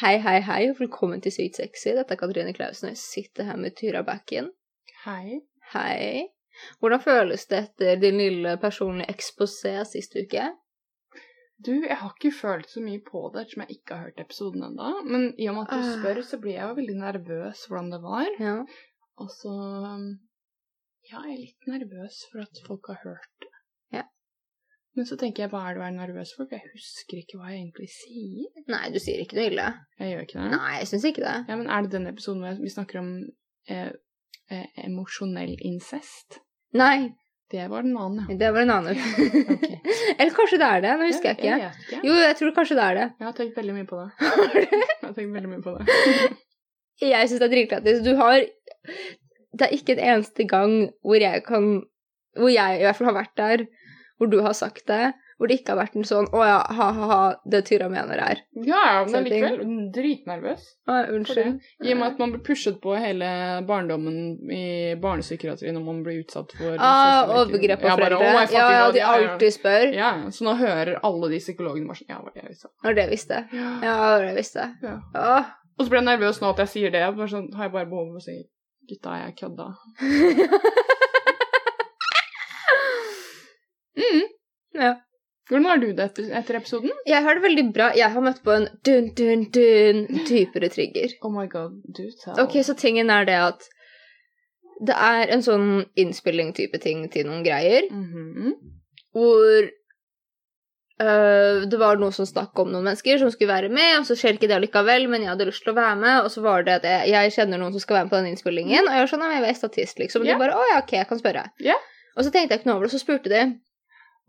Hei, hei, hei, og velkommen til Sykt sexy. Dette er Katrine Klausen, og jeg sitter her med Tyra Bakken. Hei. Hei. Hvordan føles det etter din lille personlige eksposé sist uke? Du, jeg har ikke følt så mye på det ettersom jeg ikke har hørt episoden ennå. Men i og med at du Ah. spør, så blir jeg jo veldig nervøs hvordan det var. Ja. Og så um, Ja, jeg er litt nervøs for at folk har hørt det. Ja. Men så tenker jeg hva er det å være nervøs for? For jeg husker ikke hva jeg egentlig sier. Nei, du sier ikke noe ille. Jeg gjør ikke det. Nei, jeg syns ikke det. Ja, men er det den episoden hvor vi snakker om eh, eh, emosjonell incest? Nei, Det var den annen, ja. det var en annen Ok. Eller kanskje det er det, nå husker jeg ikke. Jeg vet ikke. Jo, jeg tror kanskje det er det. Jeg har tenkt veldig mye på det. Jeg har tenkt veldig mye på det. Jeg syns det er dritlættis. Du har Det er ikke en eneste gang hvor jeg kan Hvor jeg i hvert fall har vært der, hvor du har sagt det, hvor det ikke har vært en sånn 'Å ja, ha-ha-ha, det Tyra mener er'. Ja, ja, men Sånne ting. likevel Mm, dritnervøs. Å, unnskyld. I og med at man blir pushet på hele barndommen i barnepsykiatri når man blir utsatt for Ah, seksuelle overgrep på Ja, bare, foreldre. «Å, jeg fatter Ja, ja, ikke hva de det er». alltid spør. Ja, ja, så nå hører alle de psykologene bare sånn Ja, hva var det jeg sa? Når det visste. Ja, når det visste. Ja. Åh. Og så blir jeg nervøs nå at jeg sier det. Bare sånn, har jeg bare behov for å si Gutta, jeg kødda. Mm. Ja. Hvordan har du det etter, etter episoden? Jeg har det veldig bra. Jeg har møtt på en dun-dun-dun dypere trigger. Oh my god, du tell. Ok, så tingen er det at det er en sånn innspilling-type ting til noen greier, Mhm. hvor øh, det var noe som snakk om noen mennesker som skulle være med, og så skjer ikke det likevel, men jeg hadde lyst til å være med, og så var det at jeg, jeg kjenner noen som skal være med på den innspillingen, og jeg var sånn, «Nei, men jeg er statist, liksom, og Ja. de bare, å ja, ok, jeg kan spørre. Ja. Og så tenkte jeg ikke noe over det, og så spurte de,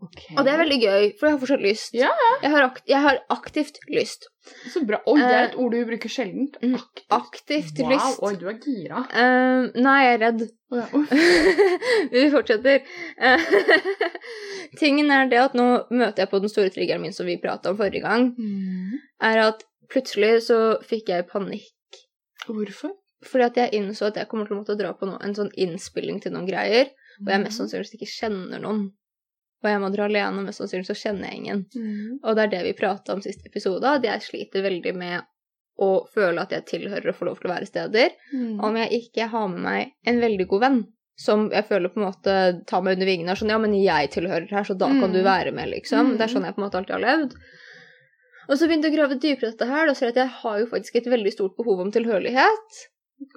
Ok. og det er veldig gøy, for jeg har fortsatt lyst. Ja, Jeg har, akt jeg har aktivt lyst. Så bra. Oi, det er et ord du bruker sjeldent. Eh, Mm, Aktivt. Aktivt lyst. Wow, oi, du er gira. Eh, nei, jeg er redd. Å ja, uff. Vi fortsetter. Eh, Tingen er det at nå møter jeg på den store triggeren min som vi prata om forrige gang, Mm. er at plutselig så fikk jeg panikk. Hvorfor? Fordi at jeg innså at jeg kommer til å måtte dra på nå en sånn innspilling til noen greier, og jeg Mhm. mest sannsynligvis ikke kjenner noen. Og jeg må dra alene, og mest sannsynlig så kjenner jeg ingen. Mm. Og det er det vi prata om sist episode, at jeg sliter veldig med å føle at jeg tilhører og får lov til å være steder. Mm. om jeg ikke har med meg en veldig god venn. Som jeg føler på en måte tar meg under vingene. er Sånn, ja, men jeg tilhører her, så da kan du Mm. være med, liksom. Det er Mm. sånn jeg på en måte alltid har levd. Og så begynte jeg å grave dypere i dette her, og ser jeg at jeg har jo faktisk et veldig stort behov om tilhørighet.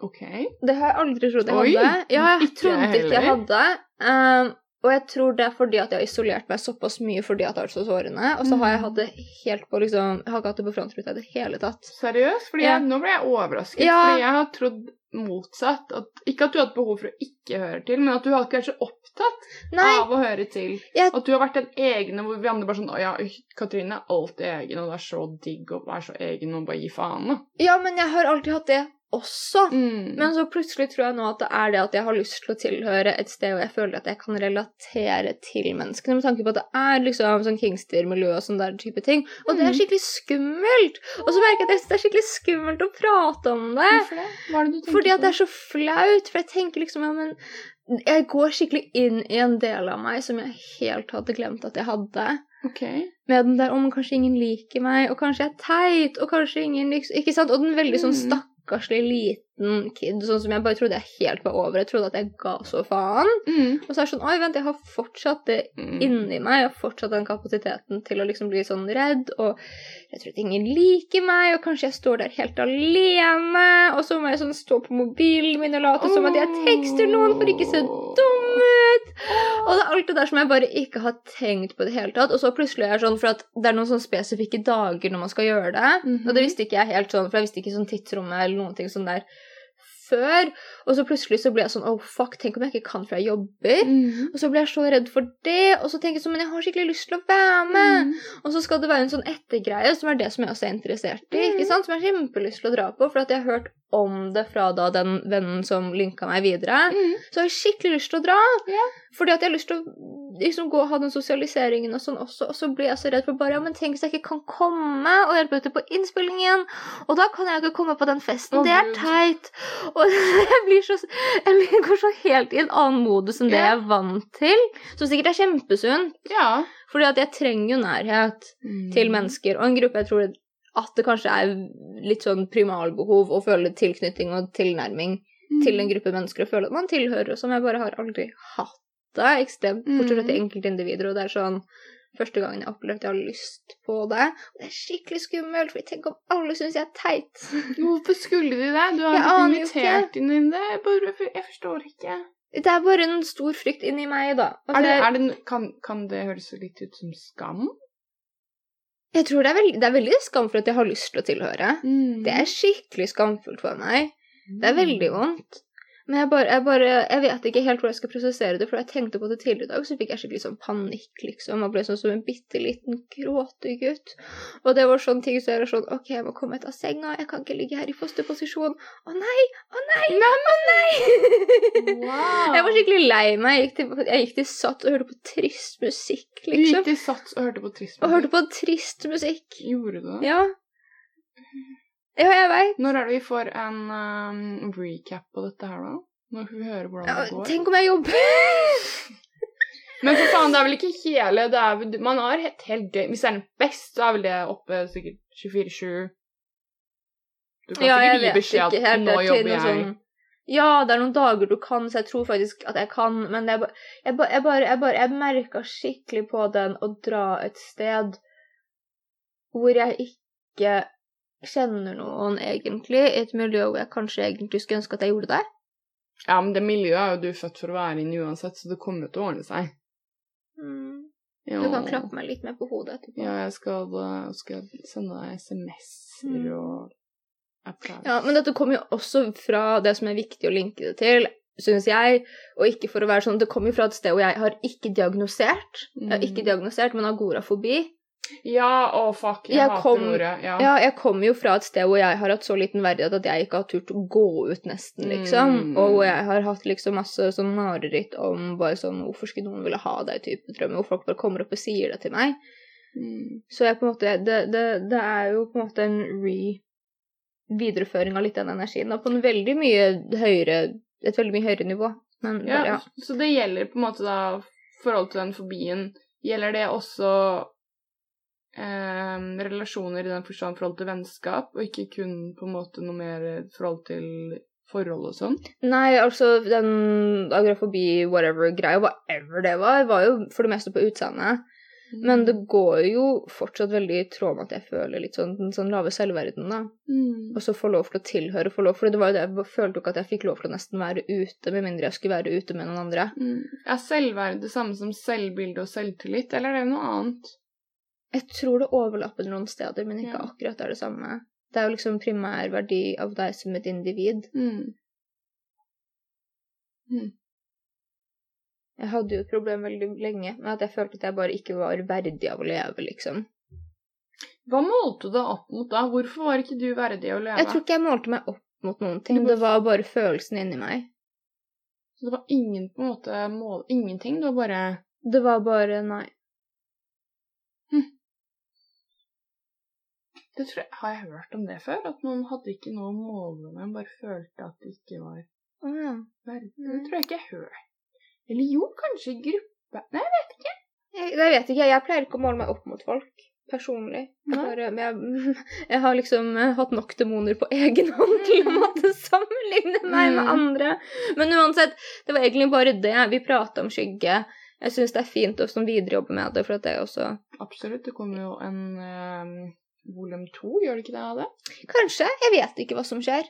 Ok. Det har jeg aldri trodd jeg Oi, hadde. Ja, jeg ikke trodde jeg ikke jeg heller. hadde. Um, og jeg tror det er fordi at jeg har isolert meg såpass mye fordi at jeg har vært så sårende. Og så har jeg Mm. hatt det helt på liksom Jeg har ikke hatt det på frontruta i det hele tatt. Seriøst? Fordi Ja. jeg, nå ble jeg overrasket. Ja. Fordi jeg har trodd motsatt. At, ikke at du har hatt behov for å ikke høre til, men at du har ikke vært så opptatt Nei, av å høre til. Jeg- At du har vært den egne hvor vi andre bare sånn Å ja, øy, Katrine er alltid egen, og det er så digg å være så egen og bare gi faen, da. ja, men jeg har alltid hatt det også. Mm. Men så plutselig tror jeg nå at det er det at jeg har lyst til å tilhøre et sted hvor jeg føler at jeg kan relatere til menneskene, med tanke på at det er liksom sånn Kingster-miljø og sånn der type ting. Og det er Mm. skikkelig skummelt! Og så merker jeg at jeg synes det er skikkelig skummelt å prate om det. Hvorfor det? Hva er det du tenker eh, Fordi at det på? er så flaut, for jeg tenker liksom ja, men jeg går skikkelig inn i en del av meg som jeg helt hadde glemt at jeg hadde. Ok. Med den der om kanskje ingen liker meg, og kanskje jeg er teit, og kanskje ingen liksom Ikke sant? Og den veldig sånn Mm. stakkarslig liten kid, sånn som jeg bare trodde jeg helt var over. Jeg trodde at jeg ga så faen. Mm. Og så er det sånn Oi, vent, jeg har fortsatt det Mm. inni meg. Jeg har fortsatt den kapasiteten til å liksom bli sånn redd, og jeg tror at ingen liker meg, og kanskje jeg står der helt alene, og så må jeg sånn stå på mobilen min og late som at jeg tekster noen for ikke å se dum ut. Og det er alt det der som jeg bare ikke har tenkt på i det hele tatt. Og så plutselig er jeg sånn, for at det er noen sånne spesifikke dager når man skal gjøre det. Mhm. Og det visste ikke jeg helt sånn, for jeg visste ikke sånn tidsrommet eller noen ting sånn der før. Og så plutselig så blir jeg sånn, oh fuck, tenk om jeg ikke kan for jeg jobber. Mm. Og så blir jeg så redd for det, og så tenker jeg sånn, men jeg har skikkelig lyst til å være med. Mm. Og så skal det være en sånn ettergreie, som er det som jeg også er interessert i, ikke Mm. sant? Som jeg har kjempelyst til å dra på, for at jeg har hørt om det fra da den vennen som linka meg videre. Mm. Så jeg har skikkelig lyst til å dra. Ja. Fordi at jeg har lyst til å liksom, gå og ha den sosialiseringen og sånn også. Og så blir jeg så redd for bare ja, men tenk hvis jeg ikke kan komme og hjelpe til på innspillingen. Og da kan jeg ikke komme på den festen. Å, det er Gud. teit. Og jeg blir så Jeg blir- går så helt i en annen modus enn det Ja. jeg er vant til. Som sikkert er kjempesunt. Ja. Mm. Fordi at jeg trenger jo nærhet til mennesker. Og en gruppe jeg tror at det kanskje er litt sånn primalbehov å føle tilknytning og tilnærming til en gruppe mennesker og føle at man tilhører, og som jeg bare har aldri hatt det ekstremt, bortsett Mm. fra til enkeltindivider, og det er sånn første gangen jeg har opplevd at jeg har lyst på det. Og det er skikkelig skummelt, for tenk om alle syns jeg er teit. Hvorfor skulle de det? Du har Jeg ikke aner jo invitert inn i det. Jeg, bare, jeg forstår ikke. Det er bare en stor frykt inni meg, da. Altså, Er det, jeg- er det, kan, kan det høres litt ut som skam? Jeg tror det er, veld, det er veldig skam for at jeg har lyst til å tilhøre. Mm. Det er skikkelig skamfullt for meg. Det Mm. er veldig vondt. Men jeg bare, jeg bare Jeg vet ikke helt hvor jeg skal prosessere det, for da jeg tenkte på det tidligere i dag, så fikk jeg skikkelig sånn panikk, liksom. Jeg ble sånn som en bitte liten gråtegutt. Og det var sånn ting som jeg var sånn OK, jeg må komme meg ut av senga, jeg kan ikke ligge her i fosterposisjon. Å nei! Å nei! Å nei! Wow. Jeg var skikkelig lei meg. Jeg gikk til, jeg gikk til SATS og hørte på trist musikk, Du gikk liksom. til Sats og hørte på Trismus? Og hørte på trist musikk. Gjorde du det? Ja. Ja, jeg veit. Når er det vi får en um, recap på dette her, da? Når hun hører hvordan det går? Tenk om jeg jobber! Men for faen, det er vel ikke hele det er, vel- Man har et helt døgn Hvis det er den best, så er vel det oppe sikkert 24-7. Du kan Ja, jeg sikkert gi vet beskjed ikke at helt. nå Det er til noe jobber jeg. sånn- Ja, det er noen dager du kan, så jeg tror faktisk at jeg kan, men jeg, ba- jeg, ba- jeg bare Jeg, bare- jeg merka skikkelig på den å dra et sted hvor jeg ikke kjenner noen, egentlig, i et miljø hvor jeg kanskje egentlig skulle ønske at jeg gjorde det. Ja, men det miljøet er jo du født for å være inne uansett, så det kommer jo til å ordne seg. Mm. Du kan Ja. klappe meg litt mer på hodet etterpå. Ja, jeg skal, eh, skal sende deg SMS-er Mm. og applaus. Ja, men dette kommer jo også fra det som er viktig å linke det til, syns jeg. Og ikke for å være sånn, det kommer jo fra et sted hvor jeg har ikke diagnosert. Jeg har ikke Mm. diagnosert, men agorafobi. Ja, å fuck, jeg, Jeg hater kom- ordet. Ja. Ja, jeg kommer jo fra et sted hvor jeg har hatt så liten verdighet at jeg ikke har turt å gå ut, nesten, liksom. Mm. Og hvor jeg har hatt liksom masse sånn mareritt om bare sånn Hvorfor skulle noen ville ha deg-type drømmer, hvor folk bare kommer opp og sier det til meg. Mm. Så jeg på en måte Det, det, det er jo på en måte en re videreføring av litt av den energien. Da, på en veldig mye høyere et veldig mye høyere nivå. Men Ja, bare, ja. Så det gjelder på en måte da forhold til den fobien Gjelder det også eh, relasjoner i den forstand forhold til vennskap, og ikke kun på en måte noe mer forhold til forhold og sånn? Nei, altså den agrafobi, whatever-greia, whatever det var, var jo for det meste på utseendet. Men det går jo fortsatt veldig i tråd med at jeg føler litt sånn den sånn lave selvverden, da. Mm. Og så få lov til å tilhøre, få lov For det var jo det, jeg følte jo ikke at jeg fikk lov til å nesten være ute, med mindre jeg skulle være ute med noen andre. Mm. Er selvverd det samme som selvbilde og selvtillit, eller er det noe annet? Jeg tror det overlapper noen steder, men ikke Ja. akkurat er det samme. Det er jo liksom primær verdi av deg som et individ. Mm. Jeg hadde jo et problem veldig lenge med at jeg følte at jeg bare ikke var verdig av å leve, liksom. Hva målte du deg opp mot da? Hvorfor var ikke du verdig å leve? Jeg tror ikke jeg målte meg opp mot noen ting. Du må- Det var bare følelsen inni meg. Så det var ingen på en måte mål... Ingenting, det var bare Det var bare nei. Det tror jeg, Har jeg hørt om det før? At man hadde ikke noe å måle med, bare følte at det ikke var Å ja. verden. Det Mm. tror jeg ikke jeg har hørt. Eller jo, kanskje i gruppe Nei, jeg vet Jeg, jeg vet ikke, jeg pleier ikke å måle meg opp mot folk. Personlig. Jeg, Nei. bare, men jeg, jeg har liksom eh, hatt nok demoner på egen hånd til å Mm. måtte sammenligne meg med Mm. andre. Men uansett, det var egentlig bare det. Vi prata om skygge. Jeg syns det er fint å sånn viderejobbe med det, for at det er også ikke. Absolutt. Det kommer jo en um, volum to, gjør det ikke det av det? Kanskje. Jeg vet ikke hva som skjer.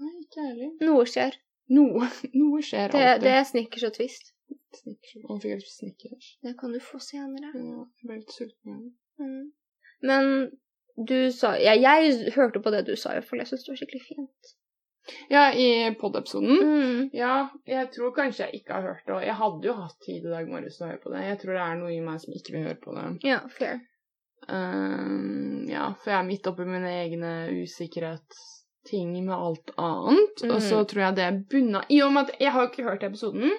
Nei, ikke ærlig. Noe skjer. Noe, noe skjer Det, alltid. det er snickers og twist. Snickers. Man fikk helt snickers. Det kan du få senere. Ja, jeg ble litt sulten igjen. Mm. Men du sa ja, Jeg hørte på det du sa, for jeg syns det var skikkelig fint. Ja, i pod-episoden. Mm. Ja, jeg tror kanskje jeg ikke har hørt det. og Jeg hadde jo hatt tid i dag morges til å høre på det. Jeg tror det er noe i meg som ikke vil høre på det. Ja, fair. Ehm, ja, for jeg er midt oppi mine egne usikkerhetsting med alt annet. Og så Mhm. tror jeg det er bunna I og med at jeg har jo ikke hørt episoden,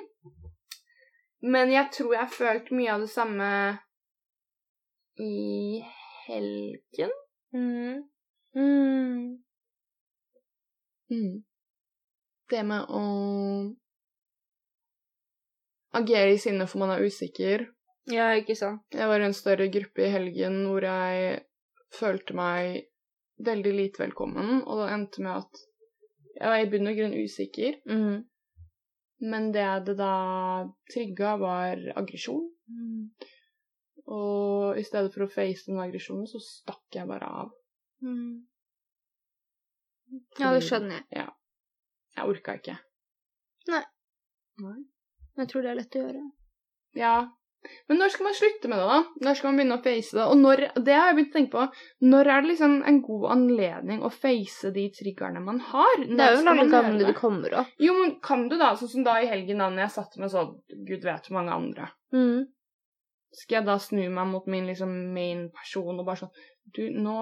men jeg tror jeg har følt mye av det samme i helgen. Mm. Mm. Mm. Det med å agere i sinne for man er usikker. Ja, ikke sant. Jeg var i en større gruppe i helgen hvor jeg følte meg veldig lite velkommen, og det endte med at jeg var i bunn og grunn usikker. Mm. Men det det da trigga, var aggresjon. Mm. Og i stedet for å face den aggresjonen, så stakk jeg bare av. Mm. Ja, det skjønner jeg. Jeg orka ikke. Men jeg tror det er lett å gjøre. Ja. Men når skal man slutte med det, da? Når skal man begynne å face det? Og når, det har jeg begynt å tenke på. Når er det liksom en god anledning å face de triggerne man har? Når Det er jo skal mange man gjøre gamle du det? kommer opp. Jo, men kan du da, sånn som da i helgen da når jeg satt med sånn, gud vet hvor mange andre, Mm. skal jeg da snu meg mot min liksom main person og bare sånn, du, nå,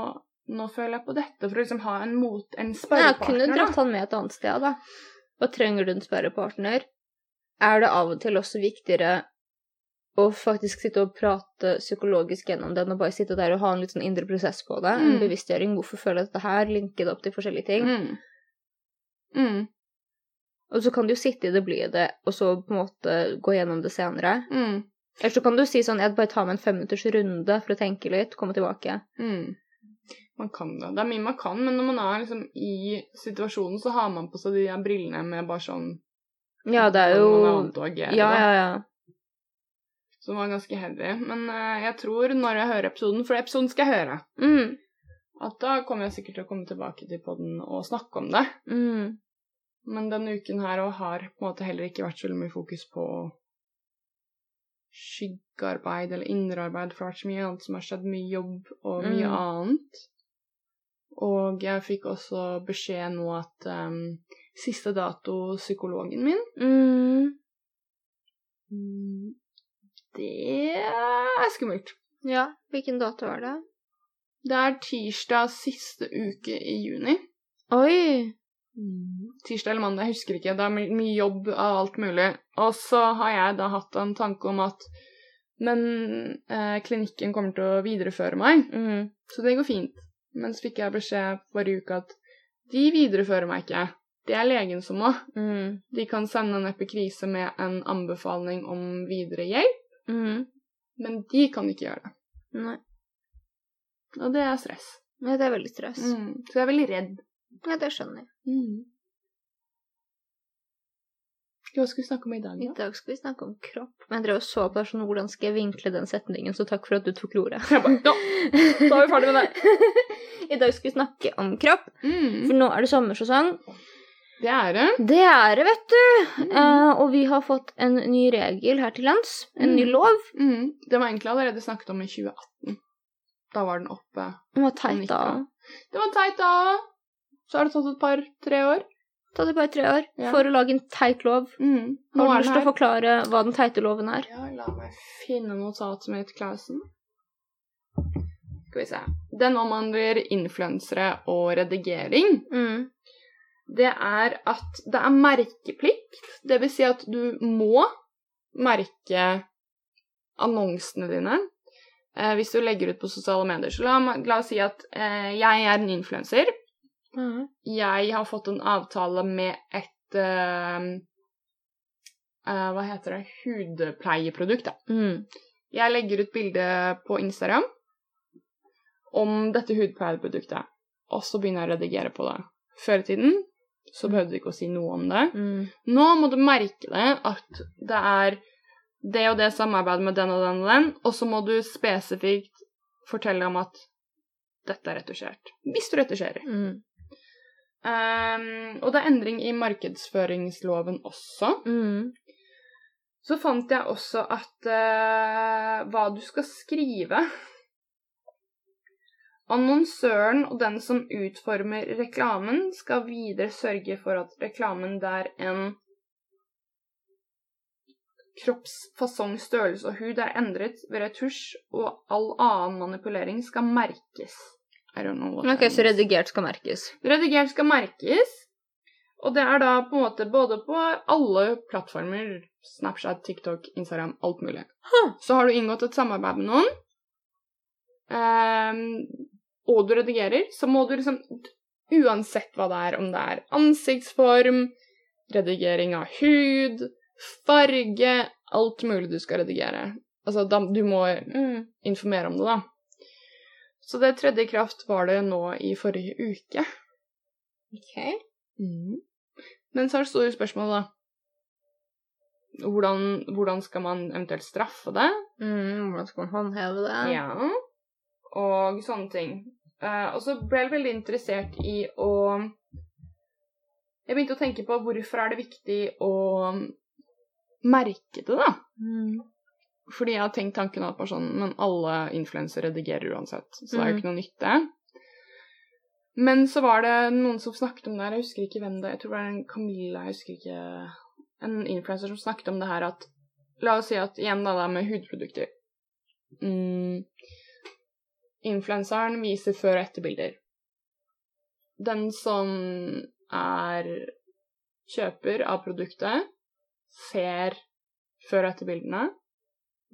nå føler jeg på dette, for å liksom ha en mot, Men en jeg kunne sparrepartner da. dratt han med et annet sted, da. Hva trenger du en sperrepartner? Er det av og til også viktigere å faktisk sitte og prate psykologisk gjennom den, og bare sitte der og ha en litt sånn indre prosess på det? En Mm. bevisstgjøring. Hvorfor føler jeg dette her? Linke det opp til forskjellige ting. Mm. Mm. Og så kan du sitte i det, bli i det, og så på en måte gå gjennom det senere. Mm. Eller så kan du si sånn Jeg bare tar meg en femminutters runde for å tenke litt, komme tilbake. Mm. Man kan det. Det er mye man kan, men når man er liksom i situasjonen, så har man på seg de der brillene med bare sånn, Ja, det er hvordan jo man er vant til å agere, Ja, da. ja, ja. Som var ganske heavy. Men eh, jeg tror når jeg hører episoden, for episoden skal jeg høre, Mm. at da kommer jeg sikkert til å komme tilbake til podden og snakke om det. Mm. Men denne uken her og har på en måte heller ikke vært så veldig mye fokus på skyggearbeid eller indre arbeid, for det har vært så mye annet som har skjedd, mye jobb og mye Mm. annet. Og jeg fikk også beskjed nå at eh, siste dato psykologen min Mm. mm, Det er skummelt. Ja. Hvilken dato var det? Det er tirsdag siste uke i juni. Mm. Oi! Tirsdag eller mandag, jeg husker ikke. Det er my- mye jobb av alt mulig. Og så har jeg da hatt en tanke om at Men eh, klinikken kommer til å videreføre meg, Mm. så det går fint. Men så fikk jeg beskjed forrige uke at de viderefører meg ikke. Det er legen som må. Mm. De kan sende en epikrise med en anbefaling om videre hjelp, Mm. men de kan ikke gjøre det. Nei. Og det er stress. Nei, det er veldig stress. Mm. Så jeg er veldig redd. Ja, det skjønner jeg. Mm. Hva skal vi snakke om i dag, I da? dag skal vi snakke om kropp. Men jeg drev og så på deg sånn Hvordan skal jeg vinkle den setningen, så takk for at du tok ordet. Jeg bare, ja. Da er vi ferdig med det. I dag skal vi snakke om kropp, for Mm. nå er det sommersesong. Det er det. Det er det, vet du! Mm. Eh, og vi har fått en ny regel her til lands. En ny Mm. lov Mm. Det var egentlig allerede snakket om i 2018. Da var den oppe. om å teite av. Det var teit, da. Så har det tatt et par-tre år. Ta det bare tre år Ja. for å lage en teit lov. Mm. Har Nå du er lyst den til å her. forklare hva den teite loven er? Ja, la meg finne notatet som heter Klausen. Skal vi se. Den omhandler influensere og redigering. Mm. det er at det er merkeplikt. Det vil si at du må merke annonsene dine eh, hvis du legger ut på sosiale medier. Så la, meg- la oss si at eh, jeg er en influenser. Mm. Jeg har fått en avtale med et eh, eh, Hva heter det? Hudpleieprodukt, da. Mm. Jeg legger ut bilde på Instagram om dette hudpleieproduktet, og så begynner jeg å redigere på det. Før i tiden så behøvde du ikke å si noe om det. Mm. Nå må du merke det at det er det og det samarbeidet med den og den og den, og så må du spesifikt fortelle om at dette er retusjert. Hvis du retusjerer. Mm. Ehm, og det er endring i markedsføringsloven også. Mm. Så fant jeg også at eh, hva du skal skrive Annonsøren og den som utformer reklamen, skal videre sørge for at reklamen der en kroppsfasong, størrelse og hud er endret ved retusj, og all annen manipulering skal merkes. I don't know what that Ok, så means. redigert skal merkes. Redigert skal merkes, og det er da på en måte både på alle plattformer, Snapchat, TikTok, Instagram, alt mulig. Huh. Så har du inngått et samarbeid med noen, ehm, og du redigerer, så må du liksom, uansett hva det er, om det er ansiktsform, redigering av hud, farge, Mm. alt mulig du skal redigere. Altså, da, du må informere om det, da. Så det tredje i kraft var det nå i forrige uke. Ok. Mm. Men så er det store spørsmålet, da. Hvordan, hvordan skal man eventuelt straffe det? Mm, hvordan skal man håndheve det? Ja. Og sånne ting. Eh, og så ble jeg veldig interessert i å Jeg begynte å tenke på hvorfor er det viktig å merke det, da. Mm. Fordi jeg har tenkt tanken at bare sånn, men alle influensere redigerer uansett, så det er jo Mhm. ikke noe nytte. Men så var det noen som snakket om det her, jeg husker ikke hvem det jeg tror det var en Camilla, jeg husker ikke En influenser som snakket om det her at La oss si at igjen da, det er med hudprodukter. Mm, influenseren viser før- og etterbilder. Den som er kjøper av produktet, ser før- og etterbildene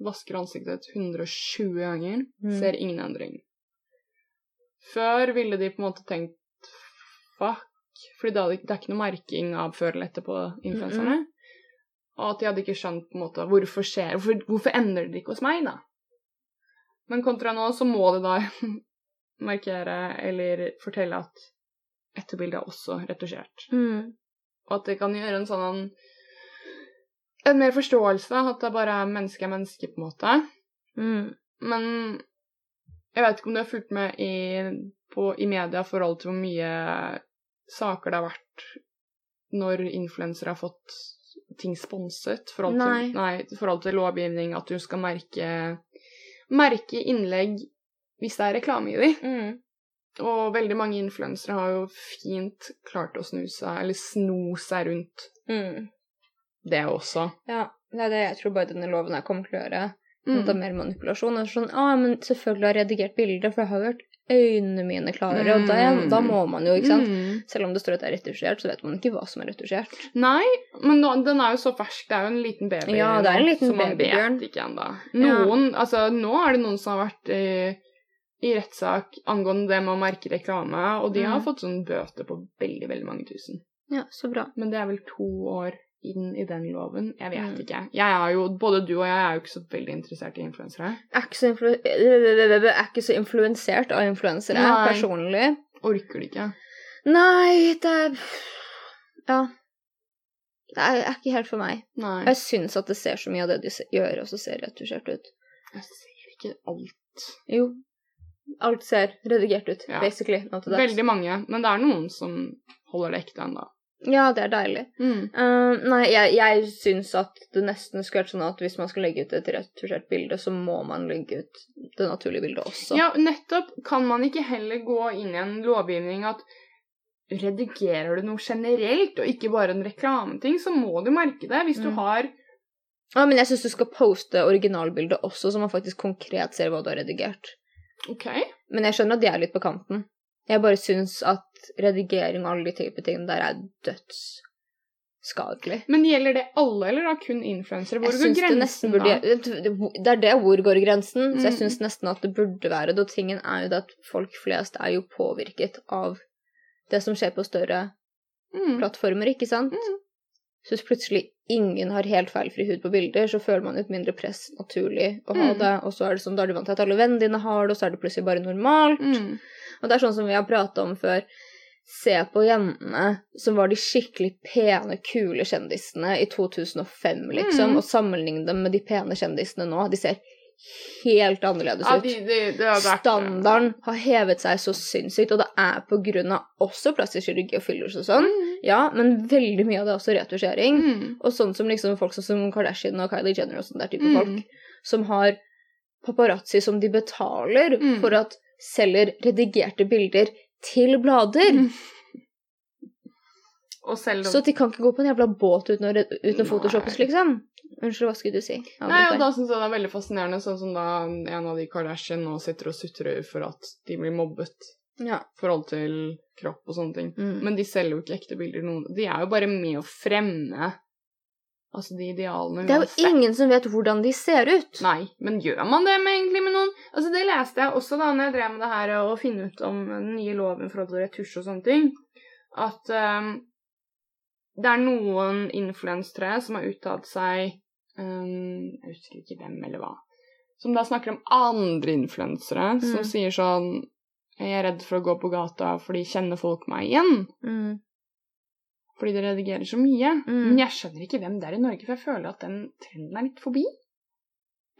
vasker ansiktet 120 ganger, Mm. ser ingen endring. Før ville de på en måte tenkt fuck, fordi det, hadde, det er ikke noe merking av før eller etterpå influenserne. Og at de hadde ikke skjønt på en måte hvorfor skjer, hvorfor, hvorfor endrer det ikke hos meg, da? Men kontra nå så må de da markere eller fortelle at etterbildet er også retusjert. Mm. Og at det kan gjøre en sånn En mer forståelse, da. At det bare er menneske er menneske, på en måte. Mm. Men jeg vet ikke om du har fulgt med i, på, i media i forhold til hvor mye saker det har vært når influensere har fått ting sponset. i Forhold Nei. til, nei, i forhold til lovgivning, at du skal merke, merke innlegg hvis det er reklame i de. Mm. Og veldig mange influensere har jo fint klart å snu seg, eller sno seg rundt Mm. det også. Ja. Det er det jeg tror bare denne loven her kommer til å gjøre. Mm. Det er mer manipulasjon. Det er sånn, ah, men selvfølgelig har jeg redigert bilder, for jeg har jo hørt øynene mine klare, og da, Mm. da må man jo, ikke sant? Mm. Selv om det står at det er retusjert, så vet man ikke hva som er retusjert. Nei, men nå, den er jo så fersk. Det er jo en liten baby. Ja, det er en nå, liten så man babybjørn. Vet ikke ennå. Ja. Noen, altså, nå er det noen som har vært i, i rettssak angående det med å merke reklame, og de har Mm. fått sånn bøter på veldig, veldig mange tusen. Ja, så bra. Men det er vel to år inn i den loven. Jeg vet Mm. ikke. Jeg er jo, både du og jeg er jo ikke så veldig interessert i influensere. Jeg er ikke så, influ jeg er ikke så influensert av influensere, Nei. personlig. Orker det ikke. Nei, det er Ja. Det er er ikke helt for meg. Nei. Jeg syns at det ser så mye av det de se- gjør, også ser retusjert ut. Jeg ser ikke alt. Jo. Alt ser redigert ut, Ja. basically. Not to that. Veldig mange, men det er noen som holder det ekte ennå. Ja, det er deilig. Eh, nei, jeg, jeg syns at det nesten skulle vært sånn at hvis man skal legge ut et retusjert bilde, så må man legge ut det naturlige bildet også. Ja, nettopp. Kan man ikke heller gå inn i en lovgivning at redigerer du noe generelt, og ikke bare en reklameting, så må du merke det. Hvis du Mm. har Ja, men jeg syns du skal poste originalbildet også, så man faktisk konkret ser hva du har redigert. OK. Men jeg skjønner at de er litt på kanten. Jeg bare syns at redigering og alle de type tingene der er dødsskadelig. Men gjelder det alle, eller da kun influensere? Hvor Jeg går syns det nesten grensen burde da? Det er det hvor går grensen, så jeg Mm. syns nesten at det burde være det. Og tingen er jo det at folk flest er jo påvirket av det som skjer på større Mm. plattformer, ikke sant? Så hvis plutselig ingen har helt feilfri hud på bilder, så føler man et mindre press naturlig å ha Mm. det, og så er det sånn, da er du vant til at alle vennene dine har det, og så er det plutselig bare normalt. Mm. Og det er sånn som vi har prata om før. Se på jentene som var de skikkelig pene, kule kjendisene i 2005, liksom, Mm. og sammenligne dem med de pene kjendisene nå. De ser helt annerledes Ja, ut. de, de, det har vært Standarden har hevet seg så sinnssykt, og det er på grunn av også plastisk kirurgi og fillers og sånn. Mm. Ja, men veldig mye av det er også retusjering. Mm. Og sånn som liksom folk sånn som Kardashian og Kylie Jenner og sånn der type Mm. folk, som har paparazzi som de betaler Mm. for at selger redigerte bilder til blader. Mm. Og selv om Så at de kan ikke gå på en jævla båt uten å, re- uten å photoshoppes, Nei. liksom. Unnskyld, hva skulle du si? Nei, Avbryter. og da syns jeg det er veldig fascinerende, sånn som da en av de Kardashian nå sitter og sutrer for at de blir mobbet ja. i forhold til kropp og sånne ting. mm. Men de selger jo ikke ekte bilder. Noen. De er jo bare med å fremme altså de idealene Det er jo ingen som vet hvordan de ser ut. Nei, men gjør man det med, egentlig med noen? Altså Det leste jeg også da når jeg drev med det her og finne ut om den nye loven i forhold til retusj og sånne ting, at ehm, det er noen influensere som har uttalt seg ehm, Jeg husker ikke hvem eller hva. Som da snakker om andre influensere, Mm. som sier sånn Jeg er redd for å gå på gata fordi kjenner folk meg igjen? Mm. Fordi det redigerer så mye. Mm. Men jeg skjønner ikke hvem det er i Norge, for jeg føler at den trenden er litt forbi.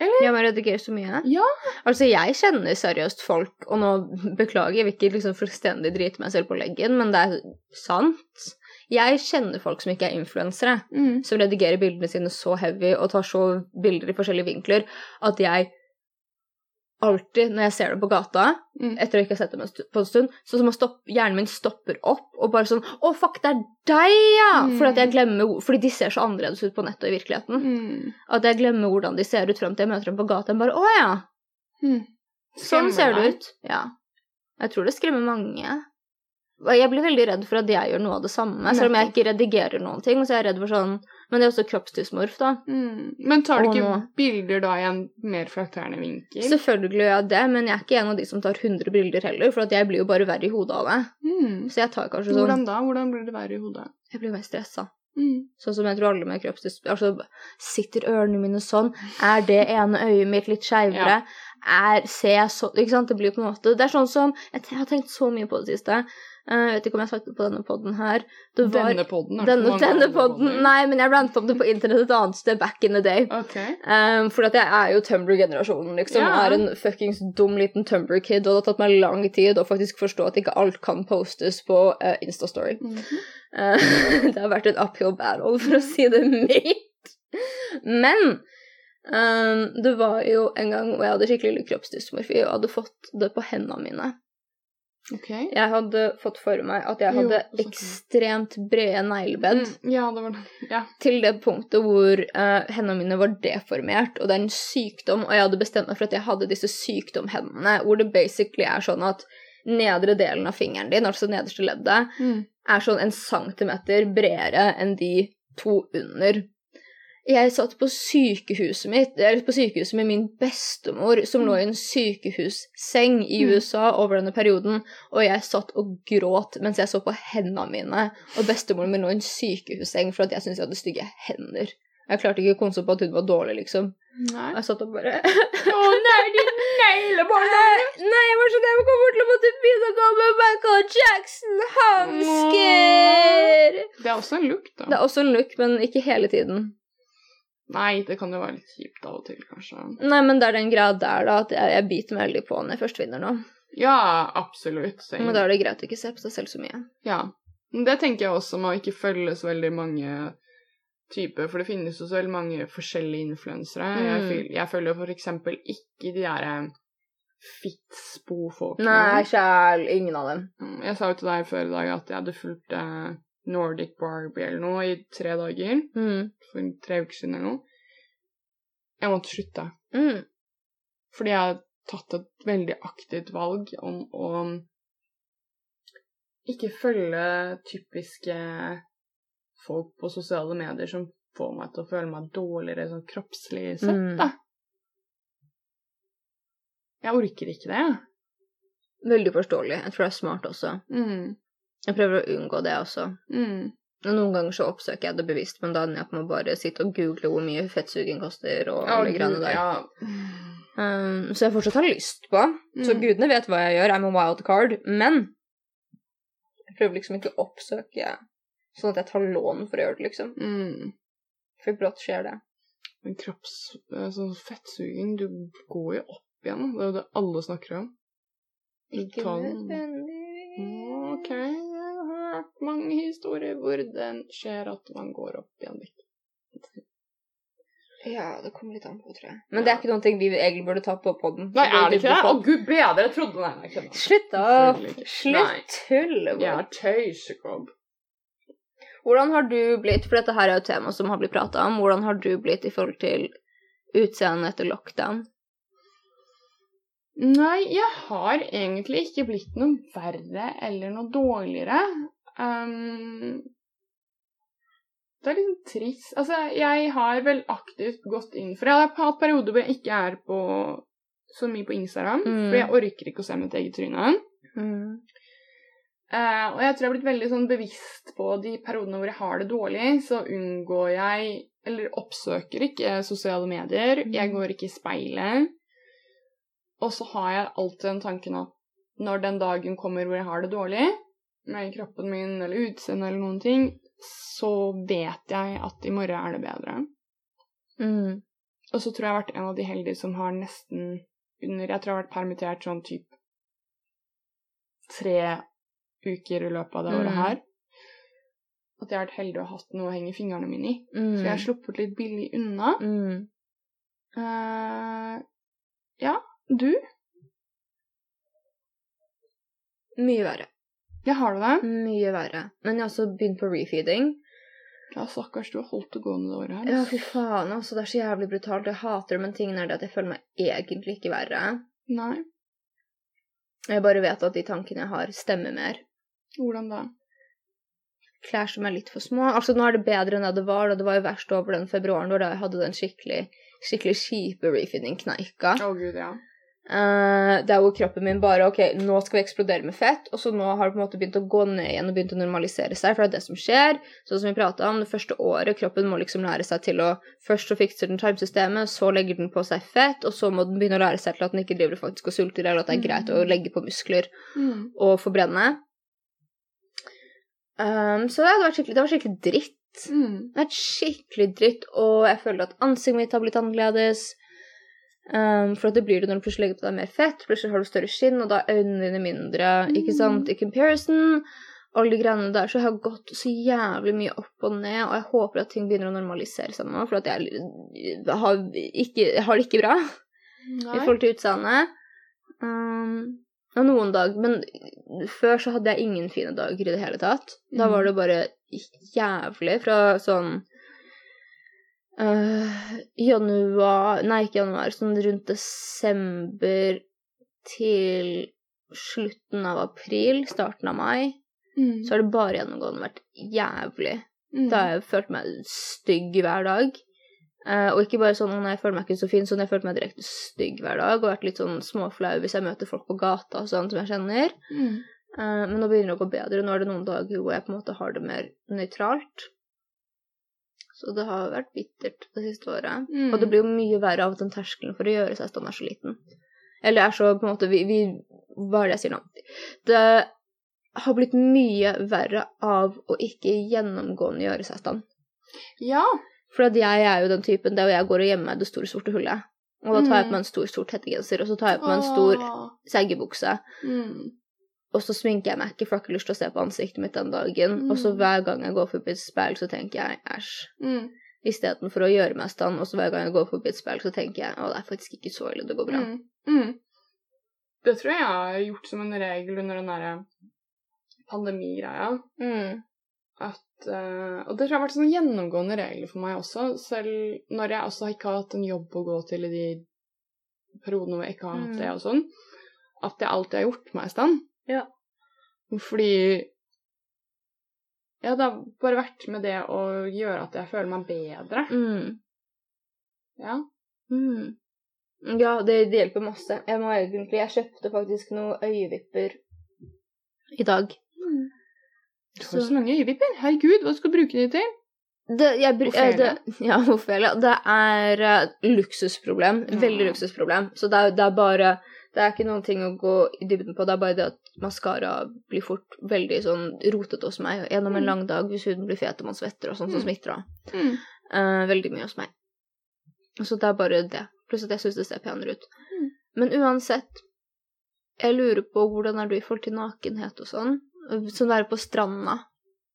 Ja, man redigerer så mye. Ja. Altså, jeg kjenner seriøst folk, og nå beklager jeg vil ikke liksom fullstendig drite meg selv på leggen, men det er sant. Jeg kjenner folk som ikke er influensere, Mm. som redigerer bildene sine så heavy og tar så bilder i forskjellige vinkler at jeg alltid, når jeg ser dem på gata, Mm. etter å ikke ha sett dem en stu- på en stund, så må stopp, hjernen min stopper opp og bare sånn Å, fuck, det er deg, ja! Mm. Fordi at jeg glemmer hvor- Fordi de ser så annerledes ut på nettet og i virkeligheten. Mm. At jeg glemmer hvordan de ser ut frem til jeg møter dem på gata. Jeg Bare, å ja, Mm. sånn Skremmer ser det deg? ut. Ja. Jeg tror det skremmer mange. Og Jeg blir veldig redd for at jeg gjør noe av det samme, selv om jeg Nettopp. ikke redigerer noen ting. Så er jeg redd for sånn, Men det er også kroppsdysmorf, da. Mm. Men tar du Og ikke nå- bilder da i en mer flatterende vinkel? Selvfølgelig gjør jeg det, men jeg er ikke en av de som tar 100 bilder heller, for at jeg blir jo bare verre i hodet av det. Mm. Så jeg tar kanskje sånn Hvordan da? Hvordan blir det verre i hodet? Jeg blir mer stressa. Mm. Sånn som jeg tror alle med kroppsdysmorf Altså, sitter ørene mine sånn? Er det ene øyet mitt litt skeivere? Er, ser jeg så Ikke sant? Det blir på en måte Det er sånn som Jeg, jeg har tenkt så mye på det siste. Eh, Jeg vet ikke om jeg har sagt det på denne podden her. Det var, Denne podden? har du denne, mange denne andre podden podder? Nei, men jeg rantet om det på internett et annet sted back in the day. Ok. Um, for at jeg er jo Tumblr-generasjonen, liksom. Ja. Jeg er en fuckings dum liten Tumblr-kid, og det har tatt meg lang tid å faktisk forstå at ikke alt kan postes på eh, Instastory. Mhm. Eh, det har vært et uphill battle, for å si det mildt. Men eh, det var jo en gang hvor jeg hadde skikkelig kroppsdysmorfi og hadde fått det på hendene mine. Ok. Jeg hadde fått for meg at jeg Jo, hadde sånn. ekstremt brede neglebed Mm. Ja, det var det. Ja. til det punktet hvor eh, hendene mine var deformert, og det er en sykdom, og jeg hadde bestemt meg for at jeg hadde disse sykdomhendene, hvor det basically er sånn at nedre delen av fingeren din, altså nederste leddet, Mm. er sånn en centimeter bredere enn de to under. Jeg satt på sykehuset mitt, eller på sykehuset med min bestemor, som lå i en sykehusseng i Mm. USA over denne perioden, og jeg satt og gråt mens jeg så på hendene mine, og bestemoren min lå i en sykehusseng for at jeg syntes jeg hadde stygge hender. Jeg klarte ikke å konse på at hun var dårlig, liksom. Nei. Jeg satt og bare Å nei, de neglebåndene! Nei, jeg var sånn Jeg kommer til å måtte begynne å gå med Michael Jackson-hansker! Det er også en look, da. Det er også en look, men ikke hele tiden. Nei, det kan jo være litt kjipt av og til, kanskje. Nei, men det er den greia der, da, at jeg, jeg biter meg veldig på når jeg først vinner nå. Ja, absolutt. same. Men da er det greit å ikke se på seg selv så mye. Ja. Men det tenker jeg også med å ikke følge så veldig mange typer, for det finnes jo så veldig mange forskjellige influensere. Jeg, Mm. føl- jeg følger jo for eksempel ikke de eh, derre fitspo-folkene. Nei, sjæl, ingen av dem. Mm, Jeg sa jo til deg før i dag at jeg hadde fulgt eh, Nordic Barbie eller noe i tre dager, Mm. for tre uker siden eller noe. Jeg måtte slutte, Mm. fordi jeg har tatt et veldig aktivt valg om å ikke følge typiske folk på sosiale medier som får meg til å føle meg dårligere sånn kroppslig sett, Mm. da. Jeg orker ikke det, jeg. Veldig forståelig. Jeg tror det er smart også. Mm. Jeg prøver å unngå det også. Mm. Og Noen ganger så oppsøker jeg det bevisst, men da ender jeg opp med å bare sitte og google hvor mye fettsuging koster og alle greiene der. Ja. Um, så jeg fortsatt har lyst på. Så Mm. gudene vet hva jeg gjør, I'm a wild card, men jeg prøver liksom ikke å oppsøke sånn at jeg tar lån for å gjøre det, liksom. Mm. For brått skjer det. Men kropps... eh, Sånn fettsuging, du går jo opp igjen. Det er jo det alle snakker om. Ikke Tolv. nødvendigvis. Ok, jeg har hørt mange historier hvor den skjer at man går opp igjen. Ja, det kommer litt an på, tror jeg. Men det er ikke noen ting vi egentlig burde ta på podden. Nei, er det ikke det? Å, På- gud bedre, jeg trodde Nei, nei, kødda. Slutt, da. Selvfølgelig ikke. Nei. Slutt tullet Jeg vårt. er tøysekobb. Hvordan har du blitt, for dette her er jo et tema som har blitt prata om, hvordan har du blitt i forhold til utseendet etter lockdown? Nei, jeg har egentlig ikke blitt noe verre eller noe dårligere. Ehm, det er liksom trist. Altså, jeg har vel aktivt gått inn for Jeg har hatt perioder hvor jeg ikke er på så mye på Instagram, Mm. for jeg orker ikke å se mitt eget tryne. Mm. Eh, og jeg tror jeg har blitt veldig sånn bevisst på de periodene hvor jeg har det dårlig, så unngår jeg, eller oppsøker ikke sosiale medier. Mm. Jeg går ikke i speilet. Og så har jeg alltid den tanken at når den dagen kommer hvor jeg har det dårlig med kroppen min eller utseendet eller noen ting, så vet jeg at i morgen er det bedre. Mm. Og så tror jeg jeg har vært en av de heldige som har nesten under Jeg tror jeg har vært permittert sånn typ tre uker i løpet av det året Mm. her. At jeg har vært heldig og hatt noe å henge fingrene mine i. Så jeg har sluppet litt billig unna. mm. Eh, ja, du? Mye verre. Jeg har det der. Mye verre. Men jeg har også begynt på refeeding. Ja, stakkars, du har holdt det gående det året her. Ja, altså. fy faen, altså. Det er så jævlig brutalt. Jeg hater det, men tingen er det at jeg føler meg egentlig ikke verre. Nei, Jeg bare vet at de tankene jeg har, stemmer mer. hvordan da? Klær som er litt for små. Altså, nå er det bedre enn det det var, og det var jo verst over den februaren hvor da jeg hadde den skikkelig, skikkelig kjipe refeeding-kneika. Å gud, ja. Eh, det er jo kroppen min bare OK, nå skal vi eksplodere med fett. Og så nå har det på en måte begynt å gå ned igjen og begynt å normalisere seg. For det er det som skjer. Sånn som vi pratet om, det første året kroppen må liksom lære seg til å Først så fikser den tarmsystemet, så legger den på seg fett, og så må den begynne å lære seg til at den ikke driver og faktisk og sulter, eller at det er Mm. greit å legge på muskler Mm. og forbrenne. Ehm, så det hadde vært skikkelig, det var skikkelig dritt. Mm. Det har vært skikkelig dritt, og jeg føler at ansiktet mitt har blitt annerledes. Ehm, for at det blir det når du plutselig legger på deg mer fett, plutselig har du større skinn, og da er øynene dine mindre, ikke Mm. sant, i comparison. Alle de greiene der, så jeg har gått så jævlig mye opp og ned, og jeg håper at ting begynner å normalisere seg nå, for at jeg har, ikke, jeg har det ikke bra i Nei. forhold til utseendet. Um, og noen dag, men før så hadde jeg ingen fine dager i det hele tatt. Da Mm. var det bare jævlig fra sånn øh, januar Nei, ikke januar, sånn rundt desember til slutten av april, starten av mai, Mm. så har det bare gjennomgående vært jævlig. Mm. Da har jeg følt meg stygg hver dag. Eh, og ikke bare sånn «Å, nei, jeg føler meg ikke så fin, sånn jeg følte meg direkte stygg hver dag. Og vært litt sånn småflau hvis jeg møter folk på gata og sånn som jeg kjenner. Mm. Eh, men nå begynner det å gå bedre. Nå er det noen dager hvor jeg på en måte har det mer nøytralt. Så det har vært bittert det siste året. Mm. Og det blir jo mye verre av at den terskelen for å gjøre seg stand er så liten. Eller er så på en måte vi, vi Hva er det jeg sier nå? Det har blitt mye verre av å ikke gjennomgående gjøre seg stand. Ja. For at jeg er jo den typen der hvor jeg går og gjemmer meg i det store, sorte hullet. Og da tar jeg på Mm. meg en stor, sort hettegenser, og så tar jeg på meg en stor Åh. seggebukse. Mm. Og så sminker jeg meg ikke, for jeg har ikke lyst til å se på ansiktet mitt den dagen. Mm. Og så hver gang jeg går forbi et speil, så tenker jeg æsj. Mm. Istedenfor å gjøre meg i stand, og så hver gang jeg går forbi et speil, så tenker jeg å, det er faktisk ikke så ille, det går bra. Mm. Mm. Det tror jeg jeg har gjort som en regel under den derre pandemigreia. Mm. At, eh, og det tror jeg har vært sånn gjennomgående regler for meg også, selv når jeg også ikke har hatt en jobb å gå til i de periodene hvor jeg ikke har hatt Mm. det og sånn, at jeg alltid har gjort meg i stand. Ja. Fordi ja, det har bare vært med det å gjøre at jeg føler meg bedre. Mm. Ja. Mm. Ja, det, det hjelper masse. Jeg må egentlig Jeg kjøpte faktisk noen øyevipper i dag. Mm. Du Så- har så lange øyevipper. Herregud, hva skal du bruke de til? Det, jeg, br- Hvorfor eh, det, gjør ja, hvorfor gjør jeg det? Det er eh, luksusproblem. Veldig Ja. luksusproblem. Så det er, det er bare Det er ikke noen ting å gå i dybden på. Det er bare det at maskara blir fort veldig sånn rotete hos meg gjennom Mm. en lang dag hvis huden blir fet og man svetter og sånn, så Mm. smitter det. eh, veldig mye hos meg. Så det er bare det. Pluss at jeg syns det ser penere ut. Mm. Men uansett, jeg lurer på hvordan er du i forhold til nakenhet og sånn? Som være på stranda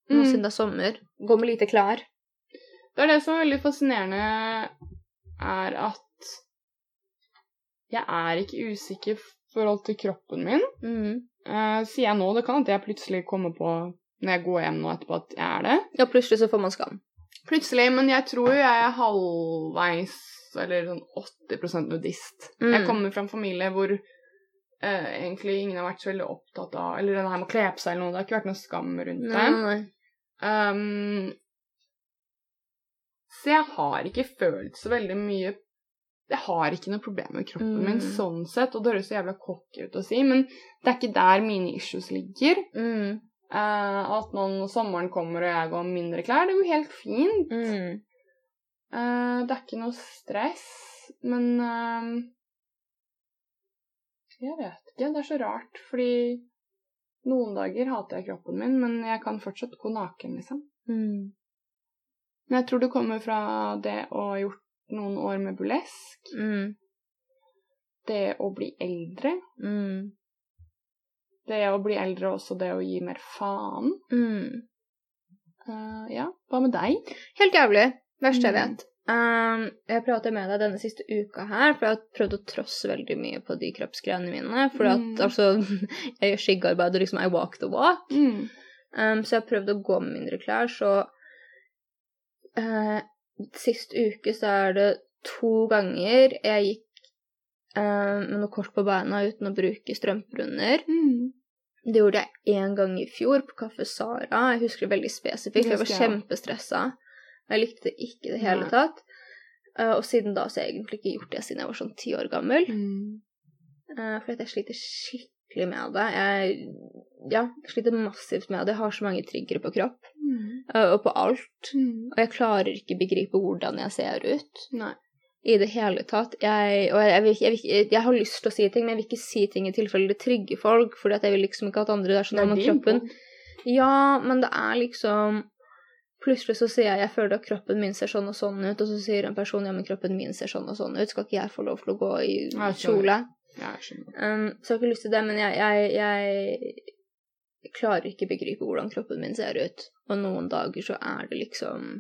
nå Mm. siden det er sommer. Gå med lite klær. Det er det som er veldig fascinerende, er at jeg er ikke usikker i forhold til kroppen min. Mm. Eh, sier jeg nå, det kan at jeg plutselig kommer på når jeg går hjem nå etterpå at jeg er det. Ja, plutselig så får man skam. Plutselig, men jeg tror jo jeg er halvveis, eller sånn 80 nudist. Mm. Jeg kommer fra en familie hvor eh, egentlig ingen har vært så veldig opptatt av Eller det her med å kle på seg eller noe, det har ikke vært noe skam rundt det. Nei, nei, nei. Um, så jeg har ikke følt så veldig mye Jeg har ikke noe problem med kroppen min Mm. sånn sett, og det høres så jævla cocky ut å si, men det er ikke der mine issues ligger. Mm. Eh, at nå når sommeren kommer og jeg går med mindre klær, det er jo helt fint. Ehm, Mm. Eh, det er ikke noe stress, men eh, ehm, Jeg vet ikke. Det er så rart, fordi noen dager hater jeg kroppen min, men jeg kan fortsatt gå naken, liksom. Mm. Men jeg tror det kommer fra det å ha gjort noen år med burlesk, Mm. det å bli eldre, Mm. det å bli eldre og også det å gi mer faen. Mm. Eh, ja, hva med deg? Helt jævlig. Verste jeg Mm. vet. Um, jeg prater med deg denne siste uka her, for jeg har prøvd å trosse veldig mye på de kroppsgreiene mine. For at, Mm. altså, jeg gjør skyggearbeid, og liksom I walk the walk. Mm. Um, så jeg har prøvd å gå med mindre klær, så eh, Sist uke så er det to ganger jeg gikk eh, med noe kort på beina uten å bruke strømper under. Mm. Det gjorde jeg én gang i fjor på Kaffe Sara. Jeg husker det veldig spesifikt. for Jeg var Husker jeg også. kjempestressa. Jeg likte det ikke i det hele Nei. tatt. Eh, og siden da så har jeg egentlig ikke gjort det siden jeg var sånn ti år gammel. Mm. Eh, for at jeg sliter skikkelig med det. Jeg ja, jeg sliter massivt med det. Jeg har så mange triggere på kropp Mm. eh, og på alt. Mm. Og jeg klarer ikke begripe hvordan jeg ser ut Nei. i det hele tatt. Jeg, og jeg, jeg, vil, ikke- jeg, vil, ikke- jeg har lyst til å si ting, men jeg vil ikke si ting i tilfelle det trigger folk. For jeg vil liksom ikke at andre der sånn om din kroppen. podd. Ja, men det er liksom Plutselig så sier jeg jeg føler at kroppen min ser sånn og sånn ut, og så sier en person ja, men kroppen min ser sånn og sånn ut, skal ikke jeg få lov til å gå i Ja, jeg skjønner. kjole? Ja, jeg skjønner. Um, så jeg har ikke lyst til det, men jeg, jeg, jeg klarer ikke begripe hvordan kroppen min ser ut. Og noen dager så er det liksom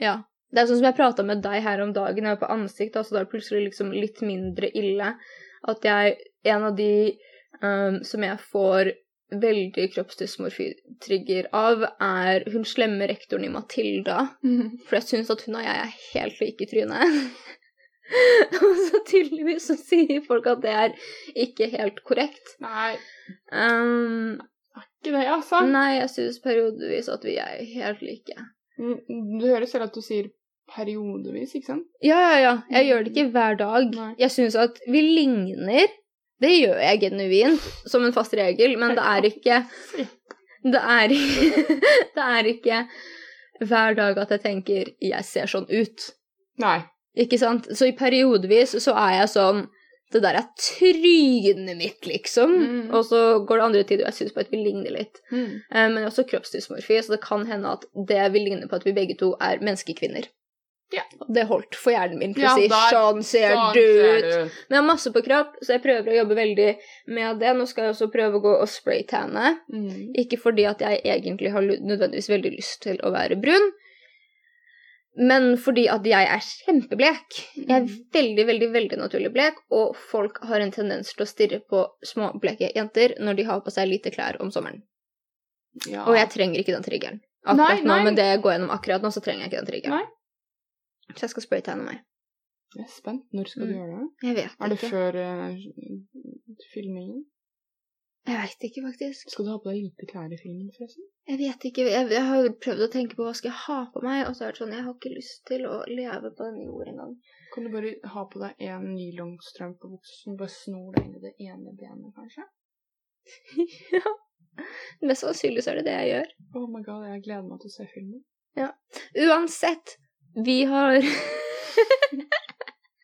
Ja. Det er sånn som jeg prata med deg her om dagen, jeg var på ansikt, altså da er det plutselig liksom litt mindre ille. At jeg En av de um, som jeg får veldig kroppsdysmorfi-trigger av, er hun slemme rektoren i Matilda. Mm. For jeg syns at hun og jeg er helt like i trynet. Og så tydeligvis så sier folk at det er ikke helt korrekt. Nei, Ehm, ikke det, altså. nei, jeg syns periodevis at vi er helt like. Mm, Du hører selv at du sier periodevis, ikke sant? Ja, ja, ja. Jeg gjør det ikke hver dag. Nei. Jeg syns at vi ligner. Det gjør jeg genuint, som en fast regel, men det er ikke Det er, det er ikke hver dag at jeg tenker 'jeg ser sånn ut'. Nei. Ikke sant? Så i periodevis så er jeg sånn Det der er trynet mitt, liksom. Mm. Og så går det andre tider, og jeg syns på at vi ligner litt. Mm. Eh, men jeg har også kroppsdysmorfi, så det kan hende at det vil ligne på at vi begge to er menneskekvinner. Ja. Og Det holdt for hjernen min til Ja, å si der- sånn ser Sånn du ut. ser du ut. Men jeg har masse på kropp, så jeg prøver å jobbe veldig med det. Nå skal jeg også prøve å gå og spraytanne. Mm. Ikke fordi at jeg egentlig har lu- nødvendigvis veldig lyst til å være brun, men fordi at jeg er kjempeblek. Jeg er Mm. veldig, veldig veldig naturlig blek, og folk har en tendens til å stirre på små bleke jenter når de har på seg lite klær om sommeren. Ja. Og jeg trenger ikke den triggeren. Akkurat Nei, nei. nå, men det jeg går gjennom akkurat nå, så trenger jeg ikke den triggeren. Nei. Så jeg skal spraytegne meg. Jeg er spent. Når skal du Mm. gjøre det? Jeg vet Er det ikke. før eh, filmingen? Jeg vet ikke, faktisk. Skal du ha på deg lite klær i filmen, forresten? Jeg vet ikke, jeg, jeg har prøvd å tenke på hva skal jeg ha på meg, og så er det sånn, jeg har ikke lyst til å leve på denne jorden engang. Kan du bare ha på deg en nylonstrømpe og bukse som du bare snor deg inn i det ene benet, kanskje? ja. Mest sannsynlig så er det det jeg gjør. Oh my god, jeg gleder meg til å se filmen. Uansett, vi har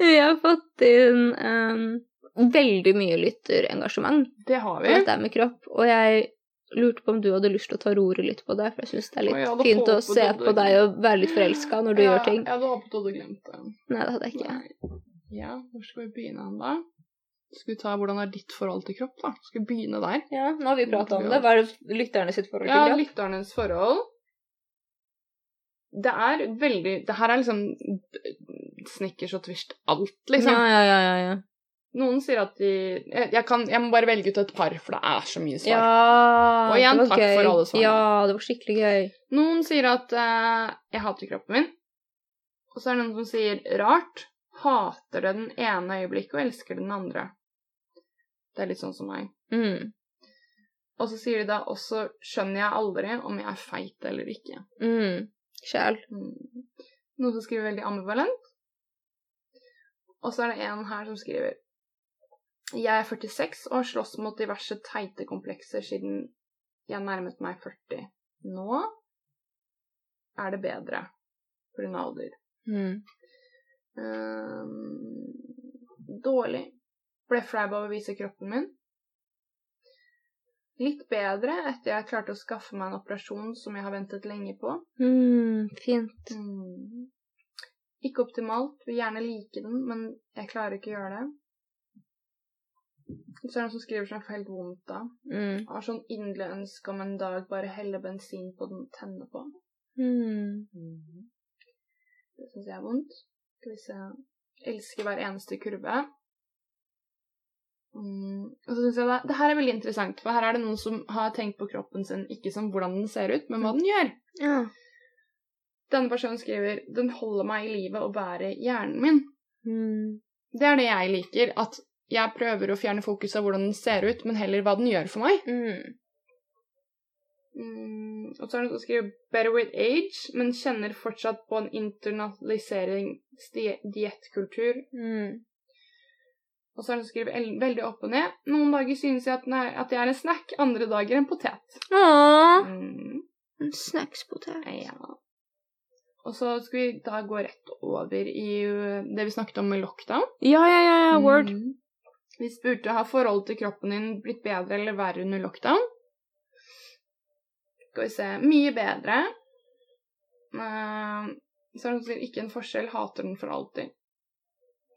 Vi har fått inn em, veldig mye lytterengasjement Det har på vi. dette med kropp, og jeg lurte på om du hadde lyst til å ta roret litt på det, for jeg syns det er Å, jeg litt hadde fint å håpet se at du- på deg og være litt forelska når du ja, gjør ting. Jeg hadde håpet du hadde glemt det. Nei, det hadde jeg ikke. Nei. Ja, hvor skal vi begynne hen, da? Skal vi ta hvordan er ditt forhold til kropp, da? Skal vi begynne der? Ja, nå har vi pratet om det. Hva er det lytterne sitt forhold Ja, lytternes forhold. Det er veldig Det her er liksom snickers og twist alt, liksom. Ja, ja, ja, ja, ja. Noen sier at de jeg, jeg, kan, jeg må bare velge ut et par, for det er så mye svar. Ja, Og igjen, det var takk for alle svarene. Ja, det var skikkelig gøy. Noen sier at eh, jeg hater kroppen min. Og så er det noen som sier rart. Hater det den ene øyeblikket og elsker det den andre. Det er litt sånn som meg. Mm. Og så sier de da også skjønner jeg aldri om jeg er feit eller ikke. Mm. Sjæl. Mm. Noen som skriver veldig ambivalent. Og så er det en her som skriver Jeg er 46 og har slåss mot diverse teite komplekser siden jeg nærmet meg 40. Nå er det bedre på grunn av alder. Mm. Ehm, Dårlig. Ble flau av å vise kroppen min. Litt bedre etter jeg klarte å skaffe meg en operasjon som jeg har ventet lenge på. Mm, fint. Mm. Ikke optimalt. Vil gjerne like den, men jeg klarer ikke å gjøre det. Så er det noen som skriver som jeg får helt vondt av. Mm. Har sånn inderlig ønske om en dag bare helle bensin på den og tenne på. Mm. Det syns jeg er vondt. Skal vi se Elsker hver eneste kurve. Mm. Og så synes jeg det, det her er veldig interessant, for her er det noen som har tenkt på kroppen sin ikke som hvordan den ser ut, men hva den gjør. Ja. Denne personen skriver 'Den holder meg i live og bærer hjernen min'. Mm. Det er det jeg liker. At jeg prøver å fjerne fokus av hvordan den ser ut, men heller hva den gjør for meg. Mm. Mm, og så er det noen som skriver 'better with age', men kjenner fortsatt på en internaliseringsdiettkultur. Mm. Og så er det noen som skriver el- veldig opp og ned. Noen dager synes jeg at, den er- at jeg er en snack, andre dager en potet. Åh, Mm, en snackspotet. ja. Og så skal vi da gå rett over i uh, det vi snakket om med lockdown. Ja, ja, ja, ja, word. Mm. Vi spurte har forholdet til kroppen din blitt bedre eller verre under lockdown. Skal vi se Mye bedre. Uh, så er det noen som skriver 'ikke en forskjell, hater den for alltid'.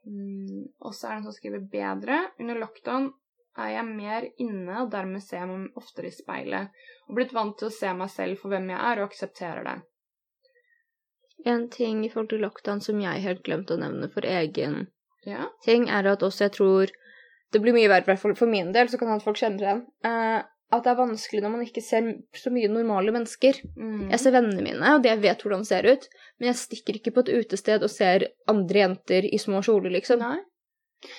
Mm, og så er det noen som skriver 'bedre'. Under lockdown er jeg mer inne, og dermed ser jeg meg oftere i speilet. Og blitt vant til å se meg selv for hvem jeg er, og aksepterer det. En ting i forhold til lockdown som jeg helt glemte å nevne for egen Ja. ting, er at også jeg tror det blir mye verre, i hvert fall for min del, så kan hende folk kjenner igjen, eh, at det er vanskelig når man ikke ser så mye normale mennesker. Mm. Jeg ser vennene mine, og det jeg vet hvordan de ser ut, men jeg stikker ikke på et utested og ser andre jenter i små kjoler, liksom. Nei.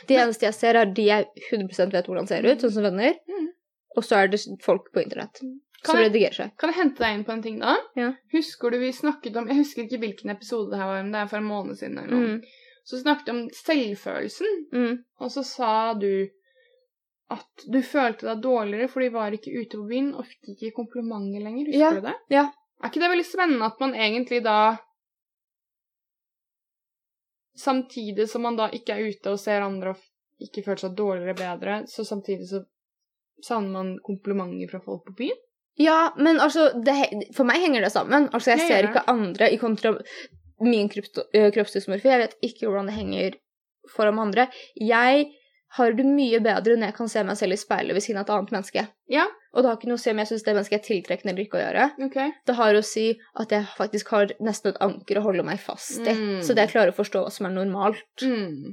Det eneste jeg ser, er de jeg 100 vet hvordan ser ut, sånn som venner. Mm. Og så er det folk på internett som jeg- redigerer seg. Kan jeg hente deg inn på en ting, da? Ja. Husker du vi snakket om Jeg husker ikke hvilken episode det her var, men det er for en måned siden. Eller noe. Mm. Så snakket vi om selvfølelsen, Mm. og så sa du at du følte deg dårligere fordi du var ikke ute på byen og fikk ikke komplimenter lenger. Husker Ja, du det? ja. Er ikke det veldig spennende at man egentlig da Samtidig som man da ikke er ute og ser andre og f- ikke føler seg dårligere bedre, så samtidig så savner man komplimenter fra folk på byen? Ja, men altså, det, he- for meg henger det sammen. Altså, jeg Ja, ser ja. ikke andre i kontra min krypto- ø, kroppsdysmorfi. Jeg vet ikke hvordan det henger foran andre. Jeg har det mye bedre når jeg kan se meg selv i speilet ved siden av et annet menneske. Ja. Og det har ikke noe å si om jeg syns det mennesket er tiltrekkende eller ikke å gjøre. Ok. Det har å si at jeg faktisk har nesten et anker å holde meg fast i. Mm. Så det jeg klarer å forstå hva som er normalt. Mm.